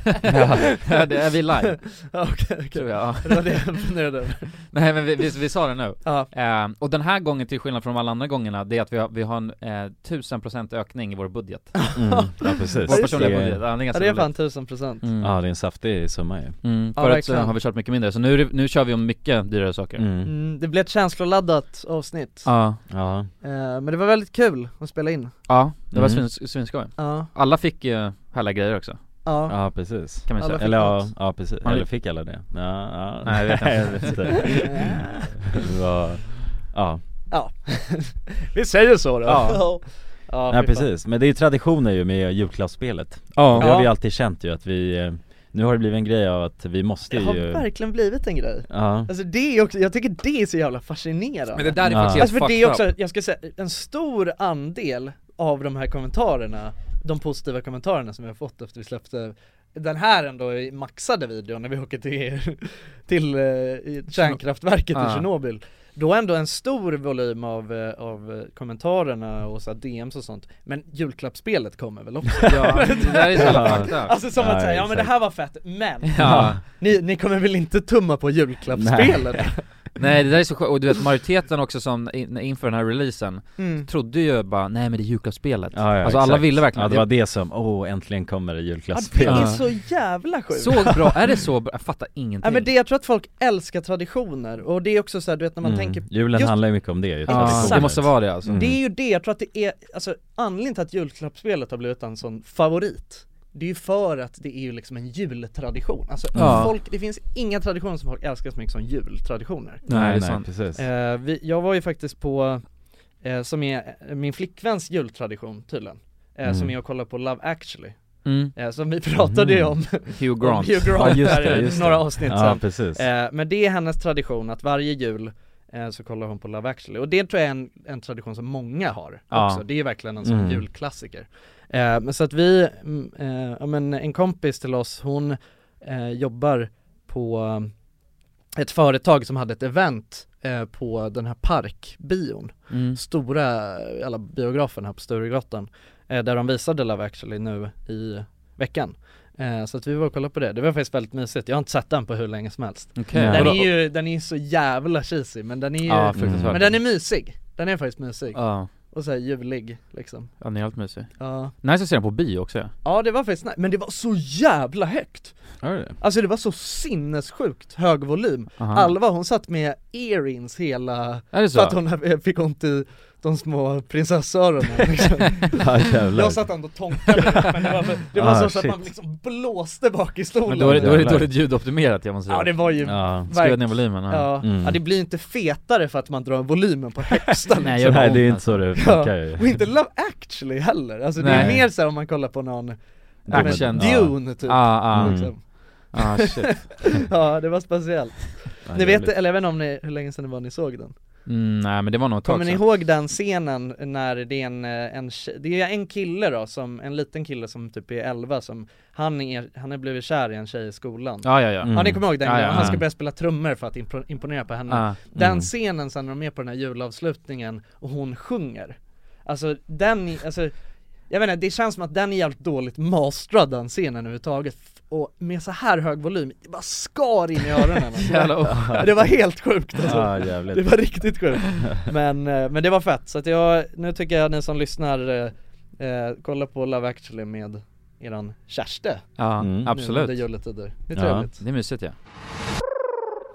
Ja, det är vi live, Ja okej, okej tror jag ja. Det var det jag funderade över Nej men vi, vi, vi sa det nu Ja, eh, Och den här gången, till skillnad från de alla andra gångerna, det är att vi har, vi har en eh, 1000% ökning i vår budget mm. ja precis Vår personliga Det är- budget, ja, det är ja ganska det är roligt fan tusen procent Mm. Ja det är en saftig summa ju Mm, Ja, förut verkligen. eh, har vi kört mycket mindre, så nu, är det- nu kör vi om mycket dyrare saker mm. mm, Det blev ett känsloladdat avsnitt Ja, Ja, eh, Men det var väldigt kul att spela in ja, det var Mm. svins- svinskoj Ja, Alla fick ju härliga grejer också, ja, ja precis kan man ju Alla säga fick Eller ja, något. ja precis, Man- eller fick alla det? Ja, ja. Nej, jag vet inte. Det var, ja, vi säger så då Ja. ja nej fy fan. precis, men det är ju traditioner ju med julklappsspelet Det Ja. har vi alltid känt ju att vi, eh, nu har det blivit en grej av att vi måste Det har ju verkligen blivit en grej Ja, Alltså det är också, jag tycker det är så jävla fascinerande Men det där är Ja. faktiskt helt Alltså för det är fucked också, up. jag ska säga, en stor andel av de här kommentarerna, de positiva kommentarerna som vi har fått efter vi släppte den här ändå i maxade videon när vi åker till, till eh, i kärnkraftverket i Ja. Tjernobyl Då ändå en stor volym av, eh, av eh, kommentarerna och så här DMs och sånt Men julklappsspelet kommer väl också? Ja, det där är så jävla fucked up Alltså som Ja, att säga, ja men det exakt. här var fett, men Ja, ni, ni kommer väl inte tumma på julklappsspelet? nej det där är så skönt, och du vet majoriteten också som in, inför den här releasen Mm. trodde ju bara nej men det är julklappsspelet Ja, ja, Alltså alla exakt. ville verkligen Ja det det. var det som, åh äntligen kommer det Ja, det julklappsspel är Ja. så jävla sjukt! Så bra, är det så bra? Jag fattar ingenting Ja, men det, jag tror att folk älskar traditioner och det är också så här, du vet när man Mm. tänker Julen just- handlar ju mycket om det ju, ja, traditioner. det måste vara det alltså Mm. Det är ju det, jag tror att det är, alltså anledningen till att julklappsspelet har blivit en sån favorit Det är ju för att det är ju liksom en jultradition, alltså Ja. folk, det finns inga traditioner som folk älskar så mycket som jultraditioner Nej, det är Nej, nej sant. precis eh, vi, Jag var ju faktiskt på, eh, som är eh, min flickväns jultradition tydligen eh, Mm. Som är att kolla på Love actually, mm. eh, som vi pratade ju Mhm. om, Hugh om Grant Hugh Grant Ja, just här det, i just det. några avsnitt Ja sen precis Eh, men det är hennes tradition att varje jul eh, så kollar hon på Love actually och det tror jag är en, en tradition som många har Ja. också, det är ju verkligen en sån Mm. julklassiker eh, Men så att vi, mm, eh, ja men en kompis till oss, hon eh, jobbar på eh, ett företag som hade ett event eh, på den här parkbion mm. stora, eh, alla biografen här på Sturegatan eh, Där de visade Love actually nu i veckan eh, Så att vi var och kollade på det, det var faktiskt väldigt mysigt, jag har inte sett den på hur länge som helst Okej. Den Vadå? är ju, den är ju så jävla cheesy men den är ju, Ja, fruktansvärt men den är mysig den är faktiskt mysig Ja, och så här julig liksom Ja den är helt mysig Ja, Nice att se den på bio också ja det var faktiskt nice. men det var så jävla högt! Är det? Alltså det var så sinnessjukt hög volym Alva hon satt med earrings hela, Är det så att så? hon eh, fick ont i de små prinsessöronen liksom. Ja jävlar Jag satt ändå och tonkade men det var, det var Ah, så, så att shit. man liksom blåste bak i stolen Men då är det, då är det Jävlar. dåligt ljudoptimerat jag måste säga Ja det var ju, ja, Ja, Skruva ner volymen ja. Mm. ja det blir inte fetare för att man drar volymen på högsta liksom. Nej, så jag nej bara- det är inte så det funkar ju Och inte Love actually heller, alltså det är Nej. mer såhär om man kollar på någon men- Action. Dune typ Ah, ah, Mm. liksom. ah shit Ja det var speciellt. Ja, Ni vet, jävligt. eller jag vet inte om ni, hur länge sedan det var ni såg den? mm, Nej men det var nog ett tag Kommer ni sedan ihåg den scenen när det är en, eh, en tje- det är en kille då som, en liten kille som typ är 11 som, han är, han har blivit kär i en tjej i skolan Ja Mm. ja ja Ja ni kommer ihåg den Ja, ja, grejen? Han ska ja. börja spela trummor för att impro- imponera på henne Ah. Den Mm. scenen sen när de är på den här julavslutningen och hon sjunger Alltså den, alltså jag vet inte, det känns som att den är jävligt dåligt mastrad den scenen överhuvudtaget F- Och med så här hög volym, det bara skar in i öronen alltså. Jävla oh. Det var helt sjukt alltså. Ja Det jävligt var riktigt sjukt. Men, eh, men det var fett, så att jag, nu tycker jag ni som lyssnar, eh, eh, kolla på Love actually med eran Kerste Ja Mm. nu absolut under juletider. Det är Ja. trevligt. Det är mysigt ja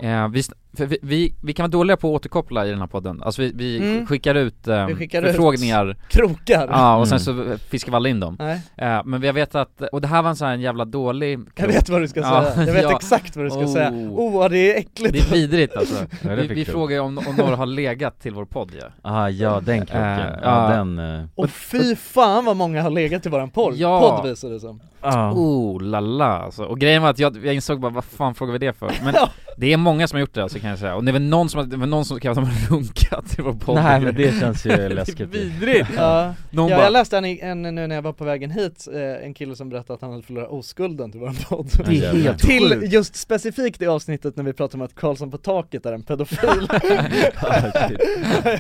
eh, vi, sn- för vi, vi, vi kan vara dåliga på att återkoppla i den här podden, alltså vi, vi Mm. skickar ut eh, Vi skickar ut. förfrågningar Krokar! Ja och sen Mm. så fiskar vi alla in dem Nej, eh, Men jag vet att, och det här var en sån här jävla dålig jag vet vad du ska Ja, säga. Jag vet ja. exakt vad du ska Oh. säga. Oh vad det är äckligt. Det är vidrigt alltså Ja, det Vi, fick vi du. frågar ju om, om några har legat till vår podd ja. Ah, ja den krocken, Eh, ja ja. den eh, Och fy fan vad många har legat i våran podd, Ja. podd visar det som. ja. Oh la la alltså. och grejen var att jag, jag insåg bara vad fan frågar vi det för? Men det är många som har gjort det alltså kan jag säga, och det är väl någon som, har- det är väl någon som kan att de har runkat till vår podd Nej men det känns ju Det är läskigt ju. vidrigt! Ja. Någon ja, bara jag läste en, en nu när jag var på vägen hit, eh, en kille som berättade att han hade förlorat oskulden till våran podd. Ja, jävlar. Till just specifikt i avsnittet när vi pratade om att Karlsson på taket är en pedofil Ja, shit.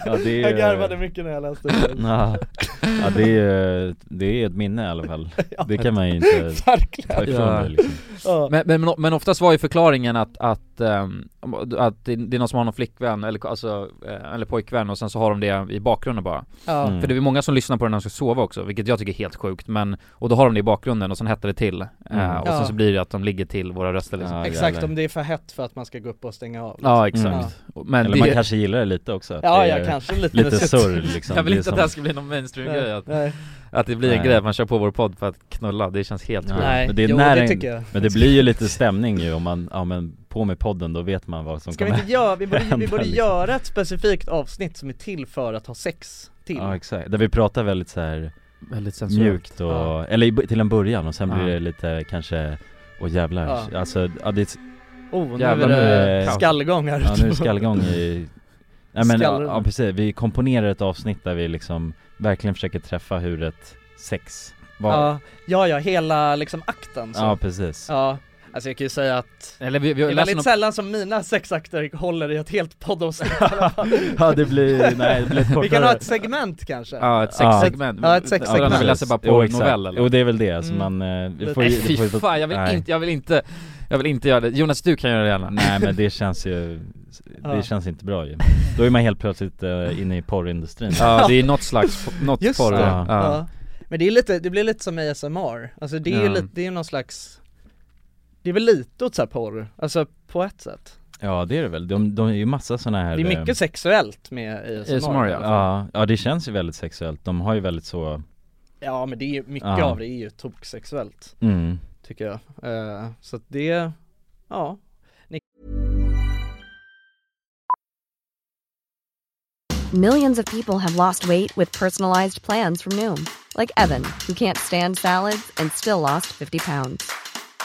Ja, det är- Jag garvade mycket när jag läste det Ja, ja det, är, det är ett minne i alla fall. Det kan man ju inte Verkligen! ta ifrån Ja. dig liksom. Ja. Men, men, men oftast var ju förklaringen att, att, ehm, att det det är någon som har någon flickvän eller, alltså, eh, eller pojkvän och sen så har de det i bakgrunden bara Ja. Mm. För det är många som lyssnar på den när de ska sova också, vilket jag tycker är helt sjukt men Och då har de det i bakgrunden och sen hettar det till eh, Mm. och sen Ja. så blir det att de ligger till våra röster liksom. Ja, Exakt, jävlar. om det är för hett för att man ska gå upp och stänga av Ja, exakt Men Mm. Eller Mm. det, man kanske gillar det lite också. att Ja, det ja är kanske lite Lite mysigt. surr liksom. Jag vill Det är inte som- att det här ska bli någon mainstream grej Nej, att, nej, att det blir en Nej. grej att man kör på vår podd för att knulla, det känns helt Ja. sjukt nej. men det är jo, när det en- tycker jag Men det blir ju lite stämning ju om man, ja men på med podden då vet man vad som Ska vi kommer. inte göra, vi borde, vi Vänta, borde liksom. göra ett specifikt avsnitt som är till för att ha sex till Ja exakt, där vi pratar väldigt så här Väldigt mjukt och, Ja. eller i bo- till en början och sen blir Ja. det lite kanske, åh jävlar, Ja. alltså, ja det är, Oh, nu Jävlar, är nu det är det- skallgång här ja, nu är det skallgång i Nej men ja, Skallrorna. ja, precis, vi komponerar ett avsnitt där vi liksom verkligen försöker träffa hur ett sex var Ja, ja, ja, hela liksom akten så. Ja precis ja, alltså jag kan ju säga att Eller vi, vi Det är har läst väldigt någon, sällan som mina sexakter håller i ett helt poddavsnitt i alla fall. Ja det blir, nej det blir ett kortare Vi kan ha ett segment kanske? ja ett Ja. sexsegment Ja, ett sexsegment. Sådana vi precis. läser bara Jo, på exakt. novell eller? Jo det är väl det, så Mm. man, eh, vi får ju, Nej det får fy ju- fan, jag vill nej. inte, jag vill inte, jag vill inte göra det Jonas du kan göra det gärna Nej men det känns ju, Ja. det känns inte bra ju Då är man helt plötsligt eh, inne i porrindustrin Ja det är något slags, något Just porr det. ja. Ja. Ja. Men det är lite, det blir lite som ASMR, alltså det är ju Ja. lite, det är ju någon slags Det är väl lite åt så här porr, alltså på ett sätt Ja det är det väl, de, de är ju massa såna här Det är mycket eh, sexuellt med ASMR, ASMR, ja. ja, ja det känns ju väldigt sexuellt, de har ju väldigt så, Ja men det är ju, mycket Ja. av det är ju toksexuellt mm, tycker jag Eh, Så att det, ja Millions of people have lost weight with personalized plans from Noom, like Evan, who can't stand salads and still lost 50 pounds.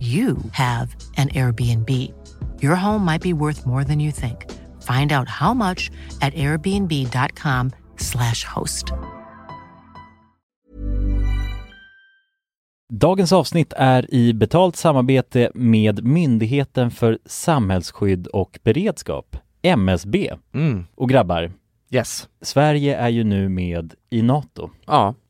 you have an Airbnb. Your home might be worth more than you think. Find out how much at airbnb.com/slash host. Dagens avsnitt är i betalt samarbete med Myndigheten för samhällsskydd och beredskap, MSB. Mm. Och grabbar, Yes. Sverige är ju nu med i NATO. Ja.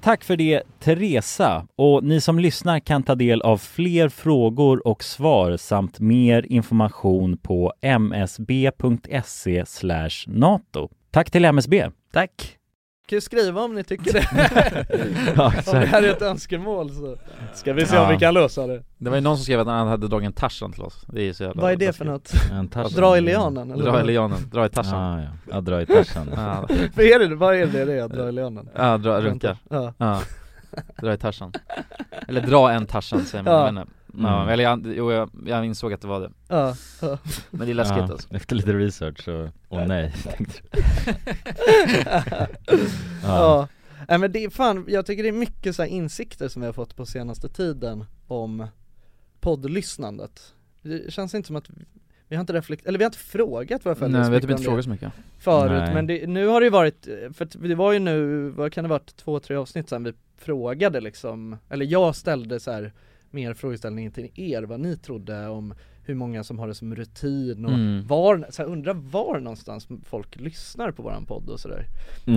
Tack för det Teresa och ni som lyssnar kan ta del av fler frågor och svar samt mer information på msb.se E nato. Tack till MSB. Tack. Kan ju skriva om ni tycker det. Ja, om det exakt. här är ett önskemål så ska vi se om Ja. vi kan lösa det. Det var ju någon som skrev att han hade dragit en tarsan till oss Det är ju så jävla Vad är det taskigt. för något? En tarsan. Dra i lianen eller? Dra i vad? lianen, dra i tarsan Ah, ja, ja, dra i tarsan. Ja, Vad är det, vad är det det är, dra i lianen? ja dra, runka Ja. Ja, dra i tarsan Eller dra en tarsan säger man, Ja. jag vet inte. ja. Mm. eller jag, jo, jag, jag insåg att det var det Ja, ja. Men det är läskigt Ja, alltså Efter lite research så, åh nej, tänkte du. ja. Nej men det är fan, jag tycker det är mycket så här insikter som vi har fått på senaste tiden om poddlyssnandet. Det känns inte som att vi har inte reflekterat, eller vi har inte frågat våra följare Nej så vi har mycket typ inte om det frågat så mycket förut Nej. men det, nu har det ju varit, eh, för att det var ju nu, vad kan det varit, två tre avsnitt sedan vi frågade liksom, eller jag ställde så här mer frågeställningen till er vad ni trodde om hur många som har det som rutin och Mm. var, så här, undrar var någonstans folk lyssnar på våran podd och sådär.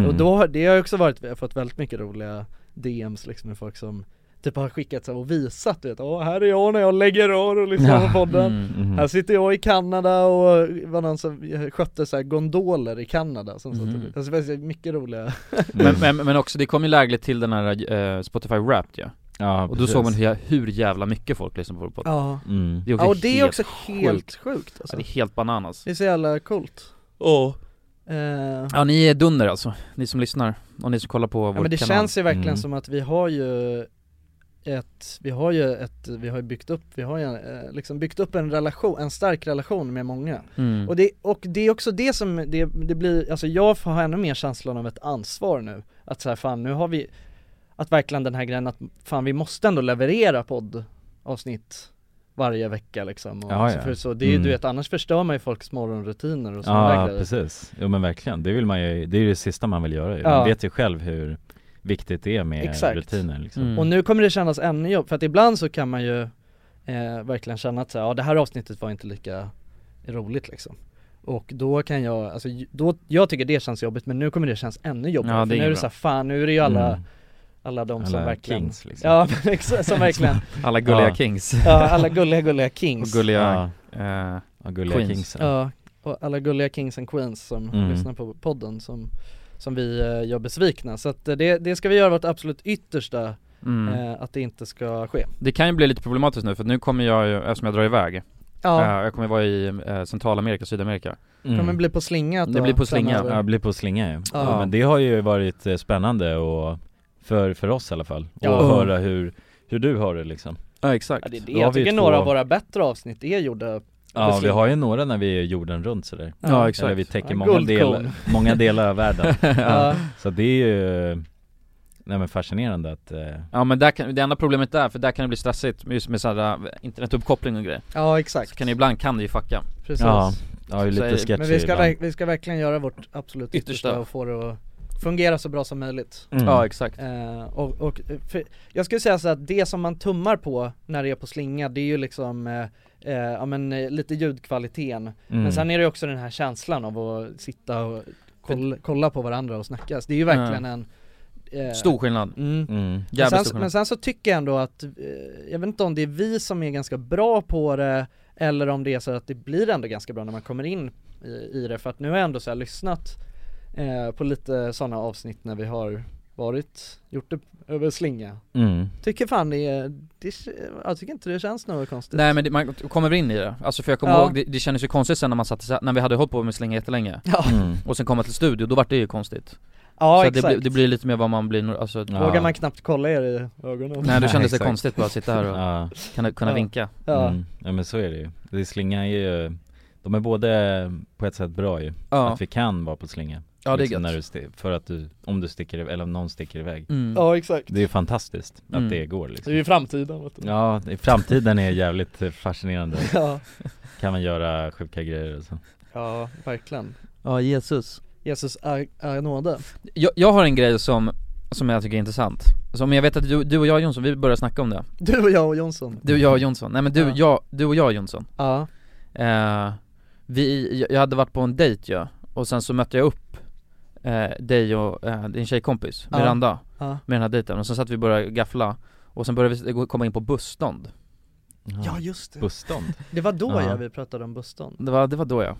Och då, har- det har ju också varit, vi har fått väldigt mycket roliga DMs liksom med folk som typ har skickat så här, och visat du vet, åh här är jag när jag lägger rör och lyssnar på podden. mm-hmm. Mm. Här sitter jag i Kanada och var någon som skötte så här gondoler i Kanada som satt och- Mhm. alltså, det är mycket roliga men, men, men också, det kom ju lägligt till den här eh, Spotify Wrapped ja. Ja, Och då precis. såg man hur, hur jävla mycket folk lyssnar på vår podd Ja, Mm. Det är också, ja och det är helt, också helt sjukt ja, alltså. det är helt bananas Det är så jävla coolt oh. eh, ja, Ja ni är dunder alltså, ni som lyssnar och ni som kollar på vår men det kanal känns ju verkligen Mm. som att vi har ju ett, vi har ju ett, vi har ju byggt upp, vi har ju eh, liksom byggt upp en relation, en stark relation med många. Mm. Och, det, och det är också det som, det, det blir, alltså jag har ännu mer känslan av ett ansvar nu. Att så här, fan nu har vi, att verkligen den här grejen att fan vi måste ändå leverera poddavsnitt varje vecka liksom. Och Ja, så ja. För så, det är ju Mm. du vet, annars förstör man ju folks morgonrutiner och sådana där Ja grejer. precis, jo men verkligen, det vill man ju, det är ju det sista man vill göra ju. Ja. Man vet ju själv hur viktigt det är med Exakt. Mm. rutiner liksom Mm. Och nu kommer det kännas ännu jobb för att ibland så kan man ju eh, verkligen känna att så här, ja, det här avsnittet var inte lika roligt liksom. Och då kan jag, alltså ju- då, jag tycker det känns jobbigt men nu kommer det kännas ännu jobbigare Ja, det för är nu är det inget såhär, fan nu är det ju alla, Mm. alla de som Alla verkligen kings, liksom. Ja men exakt, som verkligen, Alla gulliga Ja. kings ja alla gulliga gulliga och kings gulliga, eh, Ja, gulliga Queens. kingsen Ja, och alla gulliga kings and queens som Mm. lyssnar på podden som, som vi eh, gör besvikna så att eh, det, det ska vi göra vårt absolut yttersta mm. eh, att det inte ska ske Det kan ju bli lite problematiskt nu för nu kommer jag ju, eftersom jag drar iväg, Ja, eh, jag kommer vara i eh, Centralamerika, Sydamerika Mm. kommer bli på slinga att Det blir på slinga, framöver. Ja, blir på slinga ju. Ja. Ja. Men det har ju varit eh, spännande och för, för oss i alla fall, och Ja. höra hur, hur du har det liksom Ja exakt Ja, det är det. Då har Jag vi ju tycker två- några av våra bättre avsnitt är gjorda Ja vi slinga. har ju några när vi är jorden runt sådär Ja, exakt. Eller vi täcker Ja, många, guldkorn. del, många delar av världen ja. Så det är ju, nej men fascinerande att eh, Ja men där kan, det enda problemet där, för där kan det bli stressigt just med sådär internetuppkoppling och grejer ja Så exakt, kan det ibland kan det ju fucka Mm. precis Ja, ja ju Så lite är- sketchy Men vi ska, ibland. verk- vi ska verkligen göra vårt absolut yttersta, Yttersta. och få det att fungera så bra som möjligt Mm. Ja exakt eh, och, och eh, för, jag skulle säga så att det som man tummar på när det är på slinga det är ju liksom eh, eh, ja men eh, lite ljudkvaliteten Mm. Men sen är det ju också den här känslan av att sitta och kolla, kolla på varandra och snackas Det är ju verkligen en eh, Stor skillnad, mm, Mm. Men jävligt sen, stor men skillnad sen så tycker jag ändå att, eh, jag vet inte om det är vi som är ganska bra på det eller om det är så att det blir ändå ganska bra när man kommer in i, i det för att nu har jag ändå så här lyssnat eh, på lite sådana avsnitt när vi har varit, gjort det över slinga Mm. Tycker fan det är, det, jag tycker inte det känns något konstigt Nej men det, man kommer väl in i det, alltså för jag kommer Ja. ihåg, det, det kändes ju konstigt sen när man satte sig, när vi hade hållit på med slinga jättelänge Ja, Mm. och sen komma till studio, då vart det ju konstigt ja Så att det, exakt blir- det blir lite mer vad man blir, alltså Ja. Vågar man knappt kolla er i ögonen? Nej då kändes det Exakt. konstigt bara att sitta här och Ja, kunna, kunna Ja. vinka Ja, Mm. ja men så är det ju. Det slingar ju, de är både på ett sätt bra ju, Ja, att vi kan vara på slinga ja det är liksom när du gött sti- För att du, om du sticker iväg, eller om någon sticker iväg mm. ja exakt Det är ju fantastiskt Mm. att det går liksom Det är ju framtiden vet du Ja, i framtiden är jävligt eh, fascinerande, Ja, kan man göra sjuka grejer och så ja verkligen Ja Jesus Jesus är, är nåde jag, jag har en grej som, som jag tycker är intressant Som jag vet att du, du och jag Jonsson, vi började snacka om det Du och jag och Jonsson Du och jag och Jonsson, nej men du, Ja. jag, du och jag Jonsson Ja, eh, Vi, jag- jag hade varit på en dejt ja, och sen så mötte jag upp eh, dig och eh, din tjejkompis Ja. Miranda Ja. Med den här dejten, och sen satt vi och började gaffla Och sen började vi gå- komma in på busstånd ja just det Busstånd? Det var då Ja. ja vi pratade om busstånd Det var, det var då ja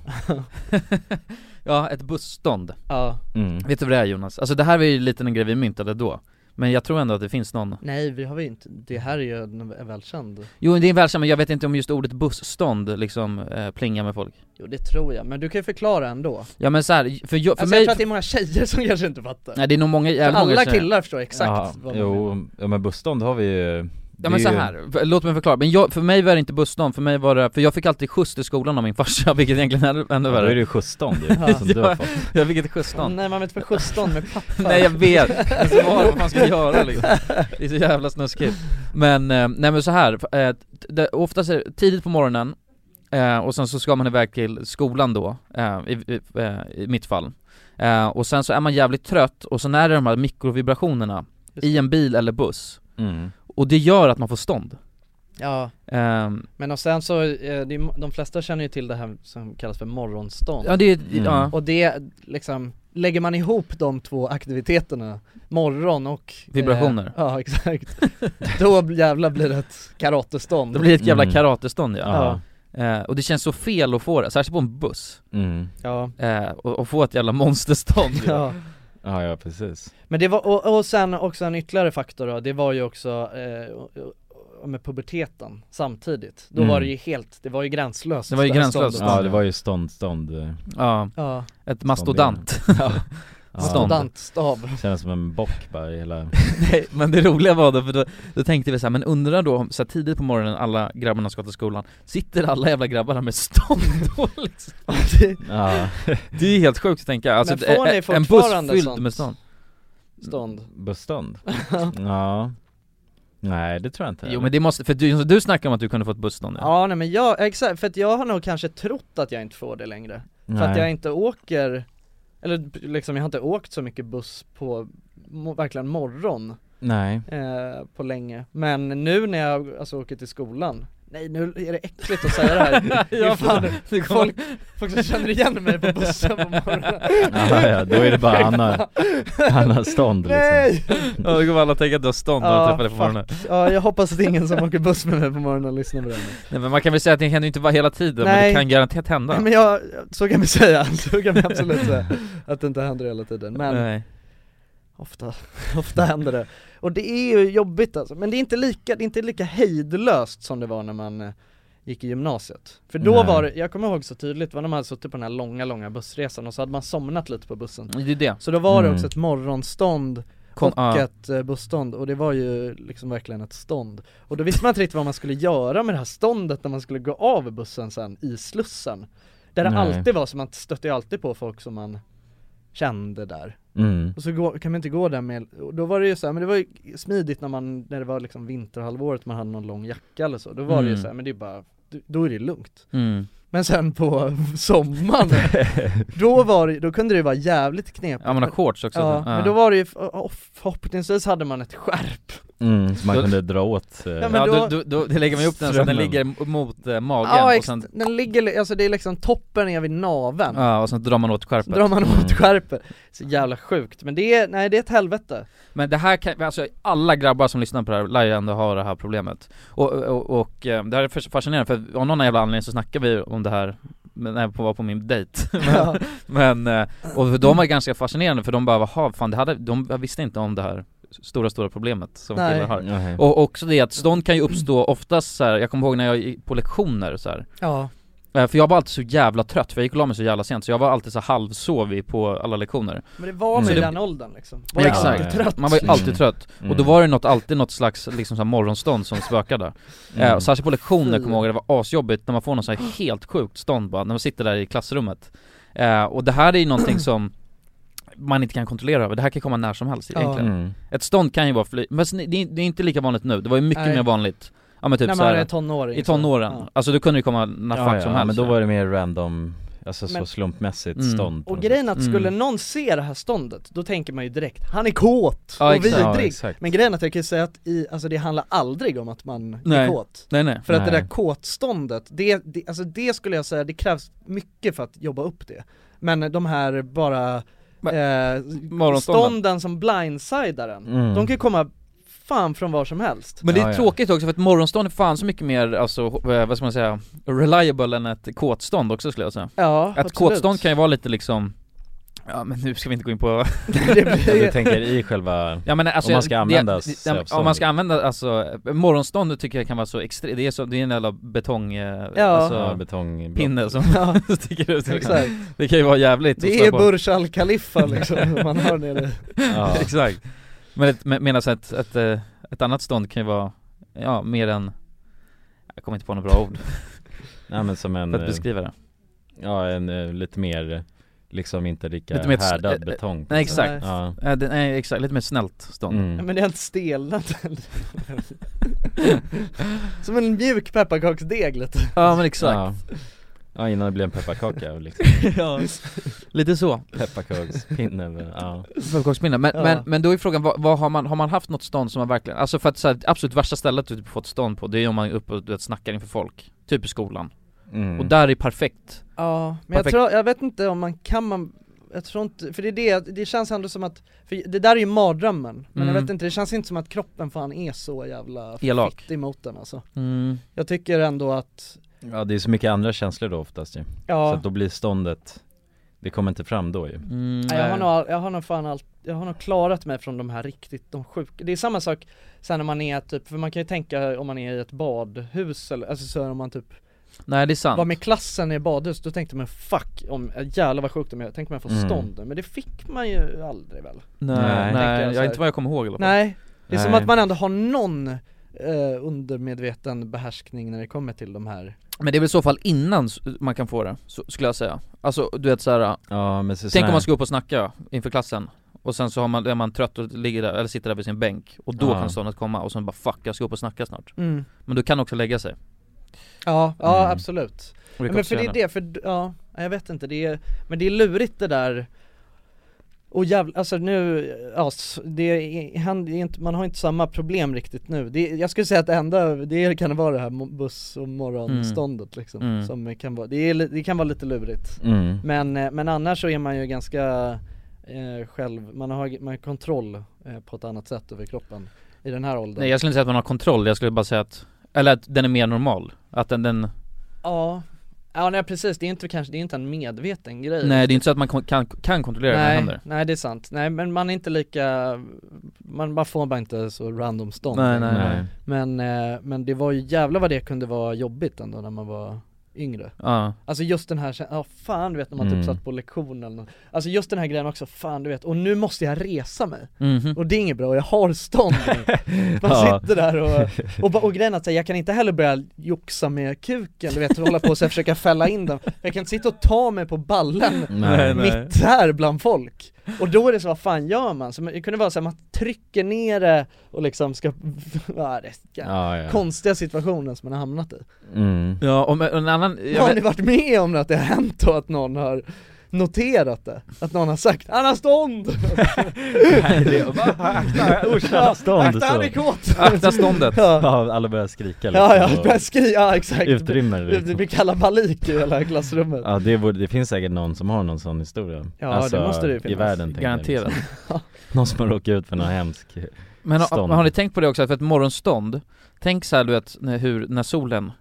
Ja, ett busstånd Ja, Mm. Vet du vad det är Jonas? Alltså det här var ju lite en grej vi myntade då Men jag tror ändå att det finns någon nej vi har vi inte, det här är ju en en välkänd Jo det är en välkänd, men jag vet inte om just ordet busstånd liksom eh, plingar med folk Jo det tror jag, men du kan ju förklara ändå Alltså Ja men så här, för, jag, för jag mig, tror att det är många tjejer som kanske inte fattar nej det är nog många, För jävligt många Alla som känner- killar förstår exakt vad man menar. jo, ja, men busstånd har vi ju det Ja är men så ju- här, för- låt mig förklara, men jag, för mig var det inte busstånd, för mig var det, för jag fick alltid skjuts till skolan av min farsa, vilket egentligen är ännu Ja, då är det värre ju skjutstånd ju, som du har fått Jag fick ett skjutsstånd Nej man vet inte sjutton med pappa Nej jag vet, Men så Alltså, vad vad man ska göra liksom. Det är så jävla snuskigt Men, eh, nej men så här, eh, t- det, oftast är det tidigt på morgonen eh, och sen så ska man iväg till skolan då, eh, i, i, eh, i mitt fall eh, Och sen så är man jävligt trött och sen är det de här mikrovibrationerna Just i en bil eller buss mm. Och det gör att man får stånd Ja, Ehm, men och sen så, eh, det är, mo- de flesta känner ju till det här som kallas för morgonstånd Ja det är, Mm. ja, Och det, liksom, lägger man ihop de två aktiviteterna, morgon och Vibrationer. Eh, ja exakt, då jävlar blir det ett karatestånd det blir ett jävla Mm. karatestånd ja, Ja. Eh, Och det känns så fel att få det, särskilt på en buss, Mm. Ja, eh, och, och få ett jävla monsterstånd ju. ja ja, ja precis Men det var, och, och sen också en ytterligare faktor då, det var ju också eh, och- och- med puberteten samtidigt Då Mm. var det ju helt, det var ju gränslöst Det var ju här gränslöst. ståndet. Ja det var ju stånd, stånd eh. Ja, Ja, ett mastodant Studentstav Känns som en bock bara i hela Nej, men det roliga var då, för då, då tänkte vi så här, men undrar då om så här, tidigt på morgonen alla grabbarna ska till skolan, sitter alla jävla grabbarna med stånd då liksom? det, Ja, det är helt sjukt att tänka, alltså, Men får eh, ni eh, en buss fortfarande fylld sånt? med stånd stånd busstånd Ja Nej det tror jag inte Jo men det måste, för du, du snackade om att du kunde få ett busstånd ja. Ja nej men jag, exakt, för att jag har nog kanske trott att jag inte får det längre För att jag inte åker, eller liksom jag har inte åkt så mycket buss på mo- verkligen morgon Nej eh, på länge Men nu när jag alltså åker till skolan Nej nu är det äckligt att säga det här, ja, fan, folk, folk som känner igen mig på bussen på morgonen Aha, ja, då är det bara Anna, Anna stånd liksom Nej! Ja, då kommer alla tänka att du har stånd när du träffar dig på fuck. morgonen ja jag hoppas att ingen som åker buss med mig på morgonen lyssnar på det här nu. Nej men man kan väl säga att det händer ju inte bara hela tiden, men Nej. det kan garanterat hända Nej men jag, så kan vi säga, så kan vi absolut säga att det inte händer hela tiden men Nej. Ofta, ofta händer det. Och det är ju jobbigt alltså, men det är inte lika, det är inte lika hejdlöst som det var när man eh, gick i gymnasiet. För då Nej. var det, jag kommer ihåg så tydligt, var när man hade suttit på den här långa, långa bussresan och så hade man somnat lite på bussen. Det är ju det, Så då var det Mm. också ett morgonstånd Kom- och ja. ett eh, busstånd och det var ju liksom verkligen ett stånd. Och då visste man inte riktigt vad man skulle göra med det här ståndet när man skulle gå av bussen sen i Slussen. Där det Nej. alltid var, så man stötte ju alltid på folk som man kände där. mm. Och så gå, kan man inte gå där med, och då var det ju så här, men det var ju smidigt när man, när det var liksom vinterhalvåret man hade någon lång jacka eller så, då var det ju Mm. så här, men det är bara, då är det lugnt. mm. Men sen på sommaren, då var det, då kunde det ju vara jävligt knepigt. ja man har shorts också Ja, så- men då var det ju, och förhoppningsvis hade man ett skärp. Mm, så man kunde dra åt eh, Ja, men Ja, då- då, då, då, det lägger man upp den så att den Strömmen. ligger mot eh, magen Ja, och ex- sen, den ligger, li- alltså det är liksom toppen är vid naveln. ja, och sen drar man åt Så skärpet drar man åt Mm. skärpet. Så jävla sjukt, men det är, nej det är ett helvete. Men det här kan, alltså alla grabbar som lyssnar på det här lär ju ändå ha det här problemet Och, och, och eh, det här är fas- fascinerande för av någon jävla anledning så snackar vi om det här men- när jag var på min dejt Ja. Men, eh, och de var ganska fascinerande för de bara vaha, fan det hade, de visste inte om det här stora stora problemet som Nej. killar har nej. Och också det att stånd kan ju uppstå oftast så här, jag kommer ihåg när jag gick på lektioner så här. Ja, Eh, För jag var alltid så jävla trött, för jag gick och la mig så jävla sent så jag var alltid så här halvsovig på alla lektioner men det var man Mm. Så i det- den åldern liksom. Var man Exakt. alltid trött. Man var ju alltid Mm. trött, och då Mm. var det något, alltid något slags liksom så här morgonstånd som spökade Mm. eh, och Särskilt på lektioner Fy. kommer jag ihåg, det var asjobbigt när man får något så här helt sjukt stånd bara, när man sitter där i klassrummet eh, Och det här är ju någonting som man inte kan kontrollera över, det här kan komma när som helst Ja. egentligen mm. Ett stånd kan ju vara fly, men det är det är inte lika vanligt nu, det var ju mycket Nej. mer vanligt Ja men typ när så man här, är tonåring i tonåren, Ja. alltså då kunde det komma när ja, fuck ja, som helst men då var det mer random, alltså Men- så slumpmässigt Mm. stånd på Och något grejen är att skulle Mm. någon se det här ståndet, då tänker man ju direkt Han är kåt! Ja, och exakt. sätt. vidrig! exakt men grejen är att jag kan ju säga att i, alltså det handlar aldrig om att man är Nej. kåt Nej nej För att det Nej. där kåtståndet, det, det, alltså det skulle jag säga, det krävs mycket för att jobba upp det Men de här bara eh, Morgonstånden. stånden som blindsidar en, Mm. de kan ju komma fan från var som helst Men det är Ja, ja. tråkigt också för att morgonstånd är fan så mycket mer, alltså, eh, vad ska man säga, reliable än ett kåtstånd också skulle jag säga Ja, Att kåtstånd kan ju vara lite liksom Ja men nu ska vi inte gå in på, det blir, Du tänker i själva, ja men alltså Om man ska det- använda det- sig av ja, Om stånd. man ska använda, alltså, morgonstånd tycker jag kan vara så extremt, det är så, det är en jävla betong, eh, Ja. ja, alltså, betong pinne som Ja, sticker ut exakt. Det kan ju vara jävligt att Det slå är på. Burj Al Khalifa liksom, man har nere ja. Exakt Men ett, med, medan ett, ett, eh, ett annat stånd kan ju vara, ja mer än jag kommer inte på något bra ord ja, men som en, för att eh, beskriva det ja en eh, lite mer, eh, liksom inte lika Lite mer ett- härdad eh, eh, betong på Nej något sätt. exakt, Ja, Eh, det, nej exakt, lite mer snällt stånd Nej, mm. Men det är helt stelnat Som en mjuk pepparkaksdeg lite Ja men exakt, ja. ja, innan det blir en pepparkaka liksom lite så Pepparkakspinne, eller- ja Pepparkaksminne, men, Ja. men, men då är frågan, vad, vad har, man, har man haft något stånd som man verkligen, alltså för att så här, det absolut värsta stället du typ fått stånd på, det är om man är uppe och du vet, snackar inför folk Typ i skolan, mm. och där är perfekt Ja, men jag, Perfekt. tror, jag vet inte om man kan man jag tror inte, för det är det, det känns ändå som att, för det där är ju mardrömmen, men jag Mm. vet inte, det känns inte som att kroppen fan är så jävla Elak. fitt emot den alltså mm. Jag tycker ändå att, Ja det är så mycket andra känslor då oftast ju, så ja, att då blir ståndet, det kommer inte fram då ju Mm, nej, jag, har nej. nog, all- jag har nog fan allt, jag har nog klarat mig från de här riktigt, de sjuka, det är samma sak sen när man är typ, för man kan ju tänka om man är i ett badhus eller, alltså så här, om man typ Nej det är sant Var med klassen i badhus, då tänkte man fuck, om, jävlar vad sjukt om jag, tänk om jag får Mm. stånd nu. Men det fick man ju aldrig väl? Nej, nej, Nej. Tänker jag jag så här. inte vad jag kommer ihåg i alla fall. Nej, det är som Nej. att man ändå har någon eh, undermedveten behärskning när det kommer till de här Men det är väl i så fall innan s- man kan få det, så, skulle jag säga Alltså du vet såhär, Ja men så, tänk om man ska upp och snacka inför klassen och sen så har man, är man trött och ligger där, eller sitter där vid sin bänk och då Ja. kan ståndet komma och sen bara 'fuck, jag ska upp och snacka snart' Men du kan också lägga sig Ja, ja Mm. absolut. Ja, Och kan men också för det är göra det, för ja, jag vet inte, det är, men det är lurigt det där och jävla, alltså nu, ja, s- det är, han, det är inte, man har inte samma problem riktigt nu. Det, är- jag skulle säga att det enda, det kan vara det här mo- buss och morgonståndet liksom, Mm. som kan vara, det, är, li- det kan vara lite lurigt. Mm. Men, eh, men annars så är man ju ganska eh, själv, man har, man har kontroll eh, på ett annat sätt över kroppen i den här åldern. Nej jag skulle inte säga att man har kontroll, jag skulle bara säga att, eller att den är mer normal Att den, den Ja, ja nej, precis, det är inte kanske, det är inte en medveten grej nej det är inte så att man kon- kan, kan kontrollera när det nej, händer nej det är sant, nej men man är inte lika, man, man får bara inte så random stånd Nej, nej, nej. Men, eh, men det var ju jävla vad det kunde vara jobbigt ändå när man var yngre Ja, Alltså just den här, ja fan du vet när man Mm. typ satt på lektion eller något. Alltså just den här grejen också, fan du vet, och nu måste jag resa mig mhm och det är inget bra, och jag har stånd nu. Man Ja. sitter där och, och, ba- och grejen är att så här, jag kan inte heller börja joxa med kuken, du vet, hålla på och så här, försöka fälla in den Jag kan inte sitta och ta mig på ballen Nej, mitt här bland folk Och då är det så, vad fan gör man? Så man, det kunde vara så här, man trycker ner det och liksom ska, vad är det, Ja, ja. konstiga situationen som man har hamnat i Mm. Ja, och med- och en annan, jag Har ni vet, varit med om att det har hänt och att någon har noterat det? Att någon har sagt 'Han har stånd!' Nej, det, va? Akta, usch, alla stånd Akta han är så. kåt! akta ståndet Ja, Ja, alla börjar skrika liksom ja, ja, och börjar skri- ja exakt Utrymmer Det- Det liksom. blir kalabalik i hela klassrummet Ja det, borde, det finns säkert någon som har någon sån historia Alltså, Ja, det måste det ju i finnas. världen tänker jag, liksom. Garanterat Någon som har råkat ut för någon hemsk Men har, Stånd. har ni tänkt på det också, för ett morgonstånd, tänk så här, du vet när, hur, när solen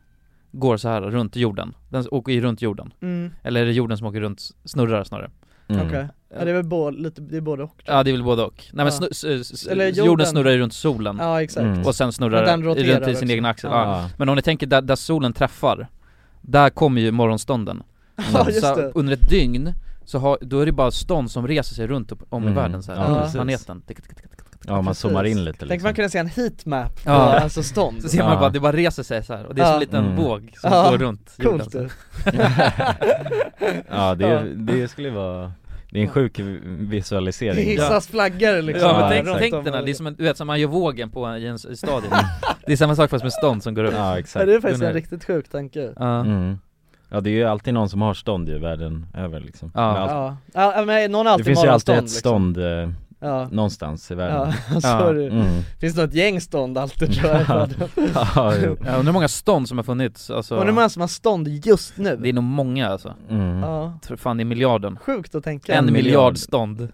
går så här runt jorden, den åker ju runt jorden, mm, eller är det jorden som åker runt, snurrar snarare? mm. Okej, ja, det är väl både, lite, det är både och Ja det är väl både och, nej men Ja. snu, s, s, Eller jorden. jorden. snurrar ju runt solen, Ja exakt Mm. och sen snurrar Men den den roterar runt i sin också. egen axel, ja. Ja. Men om ni tänker där, där solen träffar, där kommer ju morgonstånden Ja just så det under ett dygn, så har, då är det bara stånd som reser sig runt upp- om Mm. i världen så Ja, här, runt precis. planeten Tick, tick, tick, tick, tick. ja man Precis. zoomar in lite Tänk man liksom. kunna se en heatmap på Ja. alltså stånd Så ser man Ja. bara, det bara reser sig så här och det är som Ja. en liten Mm. våg som Ja. går runt jorden Coolt så här. du. Ja det, det skulle vara, det är en sjuk Det visualisering hissas flaggor liksom Ja men Ja, tänk, exakt. tänk den här, det är som en, du vet som man gör vågen på en, i en i stadion Det är samma sak fast med stånd som går upp Ja Ja, exakt det är faktiskt en Gunnar. riktigt sjuk tanke Ja. mm. Ja det är ju alltid någon som har stånd ju världen över liksom Ja. Men allt- Ja, ja men någon har Det alltid finns ju alltid morgonstånd, ett stånd eh, liksom. Ja, någonstans i världen ja, så är det ju. Mm. Finns det något gäng stånd alltid tror jag Ja, jo. Ja, undrar hur många stånd som har funnits alltså, Undrar hur många som har stånd just nu? Det är nog många alltså, Mm. Ja, jag tror fan det är miljarden sjukt att tänka En miljard miljard. stånd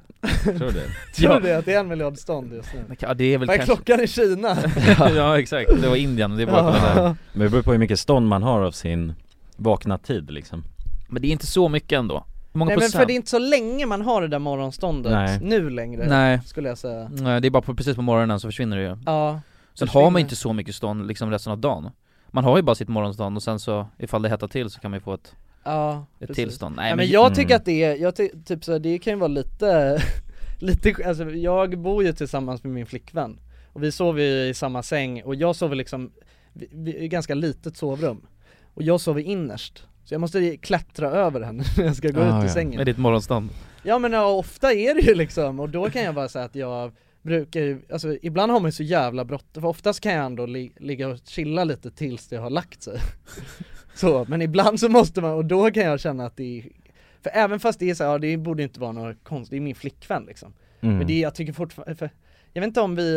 Tror du det? Tror du det att det är en miljard stånd just nu? Ja det är väl Vad är kanske klockan i Kina? Ja exakt, det var Indien, det är bara Ja. kolla där. Men det beror på hur mycket stånd man har av sin vakna tid liksom Men det är inte så mycket ändå Hur många Nej men procent? för det är inte så länge man har det där morgonståndet Nej. nu längre Nej, skulle jag säga nej, det är bara på, precis på morgonen så försvinner det ju Ja, Sen Försvinner. har man ju inte så mycket stånd liksom resten av dagen Man har ju bara sitt morgonstånd och sen så ifall det hettar till så kan man ju få ett, ja ett precis. tillstånd Nej Nej, men men jag Mm. tycker att det är, jag ty- typ så här, det kan ju vara lite, lite, sk- alltså jag bor ju tillsammans med min flickvän och vi sover ju i samma säng och jag sover liksom, vi, vi, i ganska litet sovrum och jag sover innerst så jag måste ju klättra över henne när jag ska gå Ah, ut ur ja. sängen med ditt morgonstånd Ja men ja, ofta är det ju liksom, och då kan jag bara säga att jag brukar ju, alltså ibland har man ju så jävla bråttom, för oftast kan jag ändå li- ligga och chilla lite tills det har lagt sig Så, men ibland så måste man, och då kan jag känna att det är för även fast det är så här, ja, det borde inte vara något konstigt, det är min flickvän liksom. Mm. Men det, jag tycker fortfarande, för, jag vet inte om vi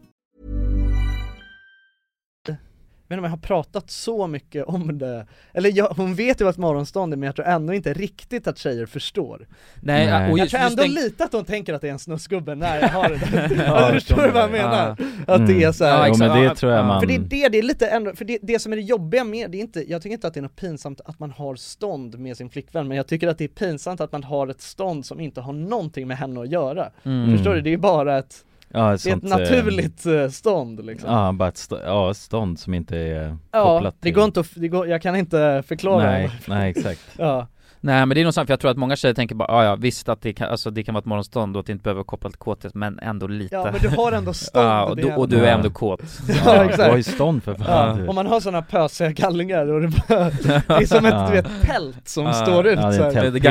Jag vet inte om jag har pratat så mycket om det, eller jag, hon vet ju vad ett morgonstånd är men jag tror ändå inte riktigt att tjejer förstår Nej, Jag och just, tror just ändå den, lite att hon tänker att det är en snuskgubbe när jag har det där, ja, förstår du vad jag menar? Att det är så här, Ja, Mm. jo, exakt. men det tror jag man... För det är det, det är lite ändå, för det, det som är det jobbiga med det, är inte, jag tycker inte att det är något pinsamt att man har stånd med sin flickvän, men jag tycker att det är pinsamt att man har ett stånd som inte har någonting med henne att göra. Mm. Förstår du? Det är ju bara ett, ja, det är ett sånt, eh, naturligt eh, stånd liksom. Ja, bara ett stå- ja, stånd som inte är Ja, kopplat det till... går inte att, det går, jag kan inte förklara. Nej, nej exakt. Ja. nej men det är något sant, för jag tror att många tjejer tänker bara "Ah, ja visst att det kan, alltså, det kan vara ett morgonstånd och att det inte behöver vara kopplat till kåthet men ändå lite ja, men du har ändå stånd. Ja, och, det du, är- och du är Ja. ändå kåt ja, Du har ju exakt. stånd för fan. Ja, du. om man har sådana pösiga kallingar och det, bara, det är som ett Ja. du vet, tält som Ja, står ut ja, det så är här. en Det är tändpinne,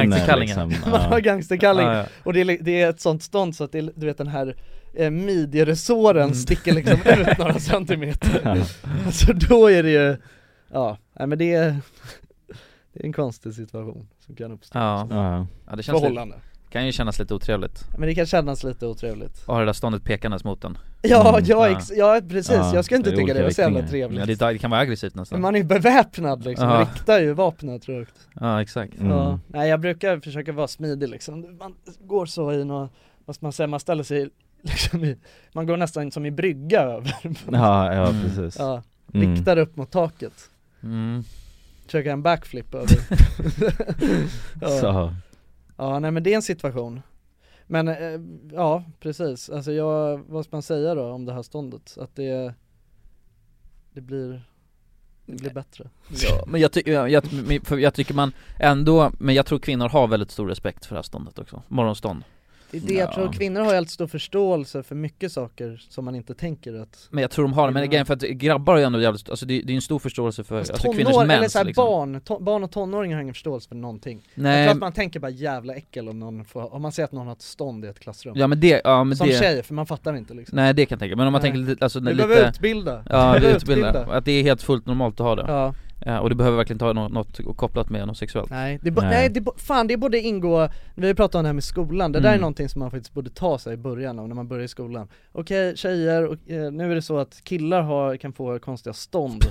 gangsterkallingen. liksom. Man har Ja. gangsterkalling Ja, ja. och det är, li- det är ett sånt stånd så att det är, du vet den här eh, midjeresåren Mm. sticker liksom ut några centimeter. alltså då är det ju, ja, nej men det är, det är en konstig situation som kan uppstå. Ja, Ja. ja det känns lite, Förhållande. kan ju kännas lite otrevligt Men det kan kännas lite otrevligt. att ha det där ståndet pekandes mot en Ja, Mm, ja, ja. ex- ja precis, Ja, jag ska inte det är tycka det olika var så jävla riktningar. trevligt. ja, det, det kan vara aggressivt nästan Men man är ju beväpnad liksom, Ja. riktar ju vapnet rakt. Ja exakt Mm. Ja. Nej jag brukar försöka vara smidig liksom, man går så i något, vad ska man säga, man ställer sig liksom i, man går nästan som i brygga över, Ja, ja Mm. precis. ja, Mm. riktar upp mot taket, mm. försöker göra en backflip över ja. Mm. Så. ja nej men det är en situation Men eh, ja precis, alltså jag, vad ska man säga då om det här ståndet? Att det, det blir, det blir bättre Ja, men jag, ty- jag, jag, men- för jag tycker man ändå, men jag tror kvinnor har väldigt stor respekt för det här ståndet också, morgonstånd Det är det jag Ja. tror, kvinnor har helt stor förståelse för mycket saker som man inte tänker att Men jag tror de har det, men Ja. grejen för att grabbar är ju ändå jävligt, alltså det, det är en stor förståelse för Mm. Fast alltså, kvinnors tonår, eller mens såhär liksom. barn, to, barn och tonåringar har ingen förståelse för någonting Jag Nej, tror att man tänker bara jävla äckel om någon får, om man ser att någon har ett stånd i ett klassrum ja men det, ja men Som det, tjej, för man fattar inte liksom nej det kan jag tänka men om man Nej. tänker lite, alltså Du lite behöver utbilda, Ja, du det behöver utbilda. Att det är helt fullt normalt att ha det. Ja, Eh, Och det behöver verkligen inte ha nå- något kopplat med något sexuellt. nej, det, bo- Nej. nej det, bo- fan det borde ingå, vi har ju pratat om det här med skolan, det där är Mm. någonting som man faktiskt borde ta sig i början av när man börjar i skolan Okej tjejer, och, eh, nu är det så att killar har, kan få konstiga stånd,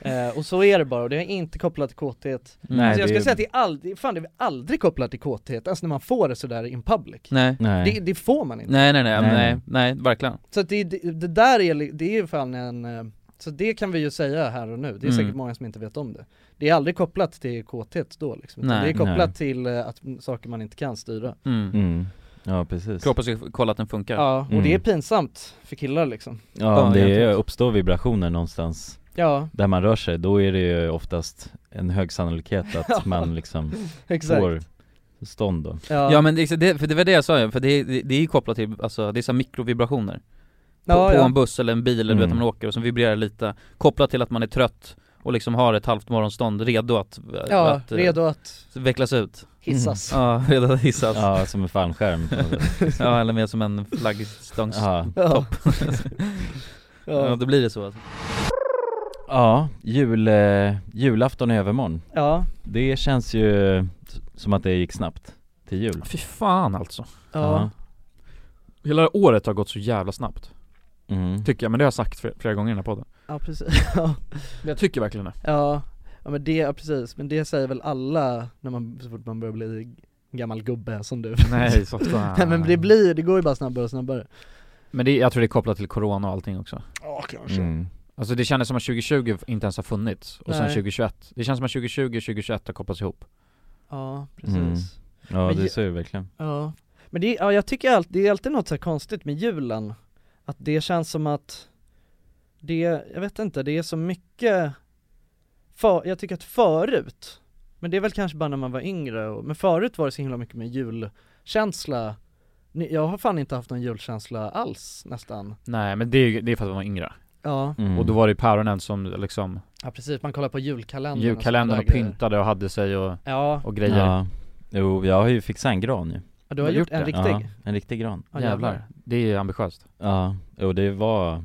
eh, och så är det bara och det är inte kopplat till kåthet Nej, alltså jag det skulle är- säga att det är aldrig, fan det är aldrig kopplat till kåthet, alltså när man får det sådär in public Nej. Nej. Det, det får man inte. Nej nej nej, Nej. nej, nej, verkligen. Så att det, det, det där är, li- det är ju fan en, eh, så det kan vi ju säga här och nu, det är Mm. säkert många som inte vet om det. Det är aldrig kopplat till kåthet då liksom, utan Nej, det är kopplat till eh, att, m, saker man inte kan styra. Mm. Mm. Ja, precis. Kroppen ska f- kolla att den funkar. Ja, och Mm. det är pinsamt för killar liksom. Ja, om Ja, det egentligen. uppstår vibrationer någonstans Ja, där man rör sig, då är det ju oftast en hög sannolikhet att man liksom exakt. får stånd Alltså. då. Ja, Ja men det, det, för det var det jag sa ju, för det, det, det är ju kopplat till, alltså det är så här mikrovibrationer På, ja, på ja. en buss eller en bil eller du vet Mm. när man åker och så vibrerar det lite Kopplat till att man är trött och liksom har ett halvt morgonstånd redo att, ja att eh, redo att vecklas ut hissas. Ja, redo att hissas ja. Ja, som en fallskärm på något sätt. eller mer som en flaggstångs... Ja. ja. Ja. ja ja. då blir det så alltså. ja, jul, eh, julafton är övermorgon. ja, Det känns ju som att det gick snabbt till jul. Fy fan alltså ja, Hela året har gått så jävla snabbt Mm. Tycker jag, men det har jag sagt fl- flera gånger i den här podden ja precis. Ja. Jag tycker verkligen det Ja, ja men det, ja, precis, men det säger väl alla när man, så fort man börjar bli gammal gubbe som du Nej så fan Nej men det blir, det går ju bara snabbare och snabbare Men det, jag tror det är kopplat till corona och allting också Ja kanske Mm. Alltså det kändes som att 2020 inte ens har funnits, och sen Nej. 2021 Det känns som att 2020 och 2021 har kopplats ihop Ja precis Mm. Ja, Men det ju- ser ju verkligen. Ja Men det, ja jag tycker allt, det är alltid något så här konstigt med julen Att det känns som att Det, jag vet inte, det är så mycket för, Jag tycker att förut Men det är väl kanske bara när man var yngre och, men förut var det så himla mycket med julkänsla Ni- Jag har fan inte haft någon julkänsla alls nästan Nej men det är, ju- det är för att man var yngre Ja, Mm. Och då var det ju päronen som liksom ja precis, man kollar på julkalendern Julkalendern och sådana där grejer. pyntade och hade sig och, Ja, och grejer Ja Jo, jag har ju fixat en gran ju ja, du har Har du gjort gjort en det? riktig Ja, en riktig gran Ja, Jävlar, det är ju ambitiöst Ja, och det var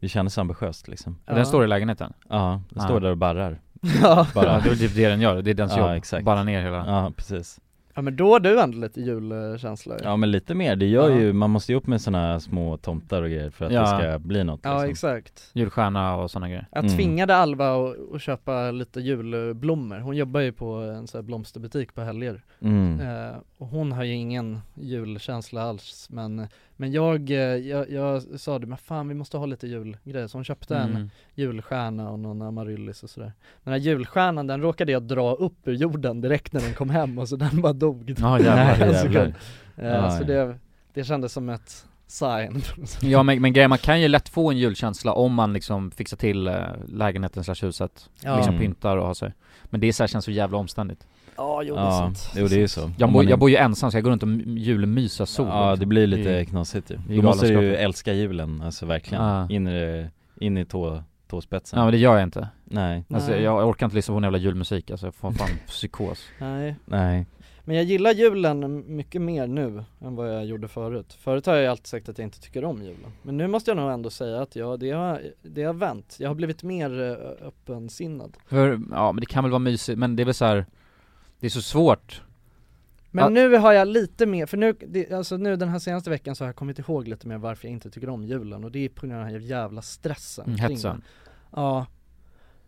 Det kändes ambitiöst liksom Ja. Den står i lägenheten Ja, den Ja. står där och barrar Ja. Ja, Bara det är väl typ det den gör, det är dens Ja, jobb, exakt. bara ner hela Ja, precis ja men då har du ändå lite julkänsla ju. Ja men lite mer, det gör Eh. Ja. ju, man måste ju upp med sådana små tomtar och grejer för att Ja. det ska bli något ja liksom. exakt julstjärna och sådana grejer Jag Mm. tvingade Alva att, att köpa lite julblommor, hon jobbar ju på en sån här blomsterbutik på helger mm. Eh, och hon har ju ingen julkänsla alls men, men jag, eh, jag, jag sa det, men fan vi måste ha lite julgrejer så hon köpte en Mm. julstjärna och någon amaryllis och sådär Den här julstjärnan den råkade jag dra upp ur jorden direkt när den kom hem och så den bara dog Ja Nej, jävlar En sekund. jävlar. Eh, Ja, Så ja. det, det kändes som ett sign Ja men, men grejen, man kan ju lätt få en julkänsla om man liksom fixar till eh, lägenheten slash huset, Ja, liksom Mm. pyntar och har sig Men det är så här, känns så jävla omständigt ja jo det är Ja, sant jo det är ju så Jag, Om bor- man är- jag bor ju ensam så jag går runt och m- julmysa sol liksom. Ja det blir lite Det- knasigt ju det är Då måste du ju galenskap. älska julen, alltså verkligen Ja. in, i, det- in i tå, tåspetsen Ja men det gör jag inte, Nej, Nej, alltså, jag, jag orkar inte lyssna på någon jävla julmusik alltså, jag får fan psykos nej. nej Men jag gillar julen mycket mer nu än vad jag gjorde förut. Förut har jag ju alltid sagt att jag inte tycker om julen. Men nu måste jag nog ändå säga att jag, det, har, det har vänt. Jag har blivit mer eh, öppensinnad. För, ja men det kan väl vara mysigt, men det är väl så här. Det är så svårt Men Ja. nu har jag lite mer, för nu, det, alltså nu den här senaste veckan så har jag kommit ihåg lite mer varför jag inte tycker om julen och det är på grund av den här jävla stressen. Mm, kring hetsen. den. Ja,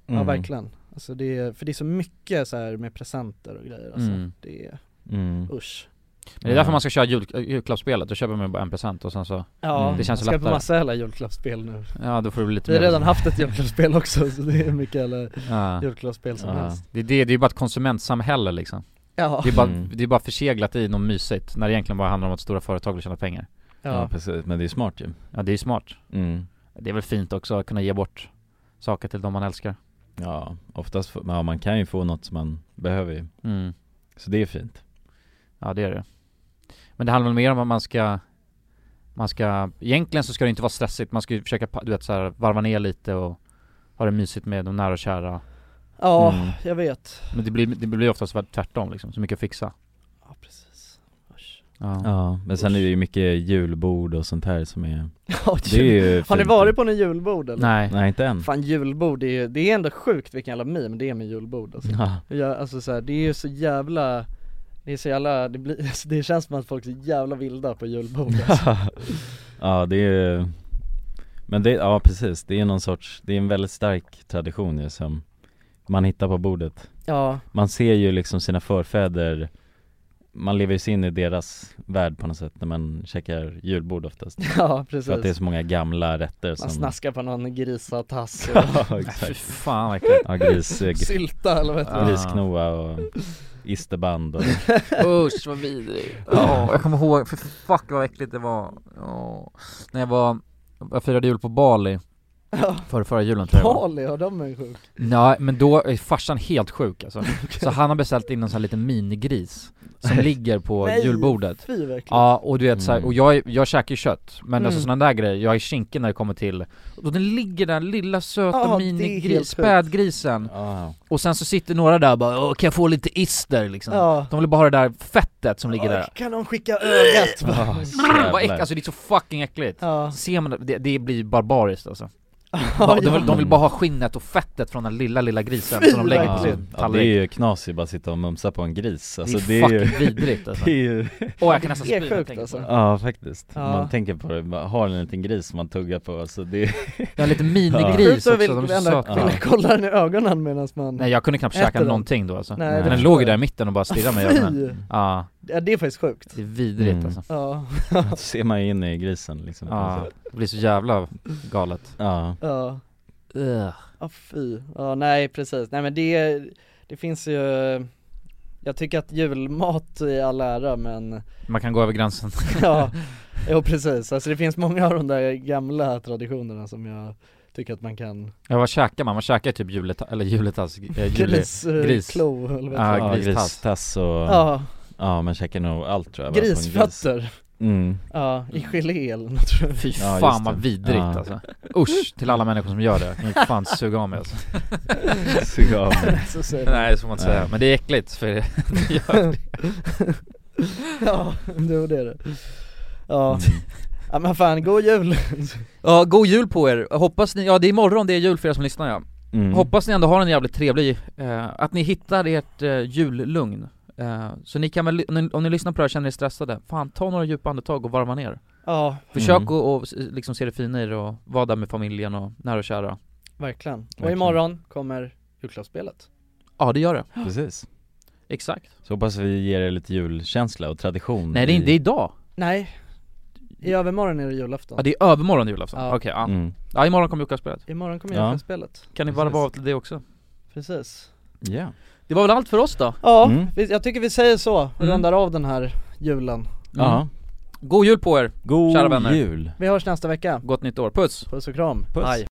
ja Mm. verkligen. Alltså det är, för det är så mycket så här med presenter och grejer alltså. Mm. Det är, mm. usch. Men det är därför man ska köra jul, julklappsspelet, då köper man bara en present och sen så Ja, Det känns jag ska på lättare. massa jävla julklappsspel nu. Ja då får det bli lite Vi har mer- redan haft ett julklappsspel också så det är mycket alla ja. julklappsspel som Ja. helst det, är det, det är ju bara ett konsumentsamhälle liksom Ja, Det är bara, Mm. det är bara förseglat i något mysigt när det egentligen bara handlar om att stora företag vill tjäna pengar Ja ja, precis, men det är smart ju Ja det är ju smart mm. Det är väl fint också att kunna ge bort saker till de man älskar Ja, oftast, får- ja, man kan ju få något som man behöver ju mm. Så det är fint Ja det är det Men det handlar väl mer om att man ska Man ska, egentligen så ska det inte vara stressigt, man ska ju försöka pa- du vet, så här, varva ner lite och ha det mysigt med de nära och kära ja Mm. jag vet Men det blir, det blir oftast väl tvärtom liksom, så mycket att fixa Ja precis Usch. Ja, Ja, men sen är det ju mycket julbord och sånt här som är Ja, Det är jul. ju Har ni fint. varit på någon julbord eller? Nej, Nej inte än Fan julbord är ju, det är ändå sjukt vilken jävla meme det är med julbord alltså. Ja, ja, alltså så här, det är ju så jävla Det är så jävla, det, blir, alltså, det känns som att folk är så jävla vilda på julbord alltså. ja det är ju Men det, ja precis, det är någon sorts, det är en väldigt stark tradition ju som man hittar på bordet Ja, Man ser ju liksom sina förfäder Man lever ju sig in i deras värld på något sätt när man käkar julbord oftast ja För att det är precis så många gamla rätter som Man snaskar på någon grisatass och Ja fy exakt fan vad äckligt Ja gris, eh, gris, sylta eller vad heter Ah. det? grisknoa och isterband och Usch vad vidrig Ja, jag kommer ihåg, för fuck vad äckligt det var Ja. När jag var, jag firade jul på Bali Ja. För förra julen tror jag det var. Bali, ja de är sjuka Nej men då är farsan helt sjuk alltså. Så han har beställt in en sån här liten minigris Som ligger på Nej. julbordet Fy verkligen Ja och du vet så här, Mm. och jag, är- jag käkar ju kött Men alltså Mm. sådana där grejer, jag är kinkig när det kommer till Och den ligger där, lilla söta Ja, det är helt minigris, sjukt. spädgrisen Ja, Och sen så sitter några där och bara "Åh, kan jag få lite ister liksom? Ja. De vill bara ha det där fettet som ligger där Kan de skicka ögat? Ja, Vad äck, jävlar. alltså det är så fucking äckligt! Ja. Ser man det, det, det blir barbariskt alltså Ja, de, vill, ja. de vill bara ha skinnet och fettet från den lilla lilla grisen som de lägger på ja. sin ja, det är tallrik ju knas ju bara att sitta och mumsa på en gris alltså, det är fucking ju, vidrigt alltså. det är ju Åh jag kan nästan Det är spy när jag sjukt, tänker alltså. på det. Ja faktiskt, Ja. man tänker på det, man har en liten gris som man tuggar på alltså det Jag har lite Ja. minigris också, vill, de är så ändå söta vill Ja. kolla den i ögonen medan man Nej jag kunde knappt Äter käka den? någonting då alltså Nej, Men det den förstår låg ju jag. där i mitten och bara stirrade mig i ögonen Fy! Ja, Ja det är faktiskt sjukt det är vidrigt Mm. alltså Ja, Då ser man ju in i grisen liksom Ja, det blir så jävla galet ja. ja, Ugh. ja fy, ja nej precis, nej men det, det finns ju Jag tycker att julmat i all ära men, Man kan gå över gränsen ja, jo precis, alltså det finns många av de där gamla traditionerna som jag tycker att man kan Ja vad käkar man? Man käkar typ juletass, eller juletass, eh, jule, Gris, eh, gris. klo eller vad Ja, heter Ja, det? gristass. gristass och, Ah, ja. Ja, man käkar nog allt tror jag bara på en gris. grisfötter Mm, Ja, i gelé eller något tror jag Fy Ja, fan just vad det. vidrigt Ja. alltså Usch till alla människor som gör det, ni kan fan suga av mig alltså. sug av mig. Så säger man. Nej det får man inte säga, Nej. men det är äckligt för det gör det. Ja, det det är det Ja, Mm. ja men fan, god jul! Ja, god jul på er! Hoppas ni, ja det är imorgon det är jul för er som lyssnar ja. Mm. Hoppas ni ändå har en jävligt trevlig, eh, att ni hittar ert eh, jullugn Eh, Så ni kan väl, om ni, om ni lyssnar på det här och känner er stressade, fan ta några djupa andetag och varva ner Ja, Försök Mm. att och, liksom se det fina i det och vara där med familjen och nära och kära verkligen. Och Verkligen. imorgon kommer julklappsspelet Ja det gör det, Precis. exakt Så hoppas vi ger er lite julkänsla och tradition Nej det är, i- det är idag, Nej, i övermorgon är det julafton ja det är övermorgon julafton, Ja. okej ja. Mm. ja imorgon kommer Lukas-spelet, Imorgon kommer Ja. julklappsspelet, kan ni Precis. varva av till det också? precis Ja. Det var väl allt för oss då? Ja, Mm. vi, jag tycker vi säger så och Mm. rundar av den här julen Ja. God jul på er, God Mm. Kära vänner. jul. Vi hörs nästa vecka, gott nytt år, puss! puss och kram Puss. Hej.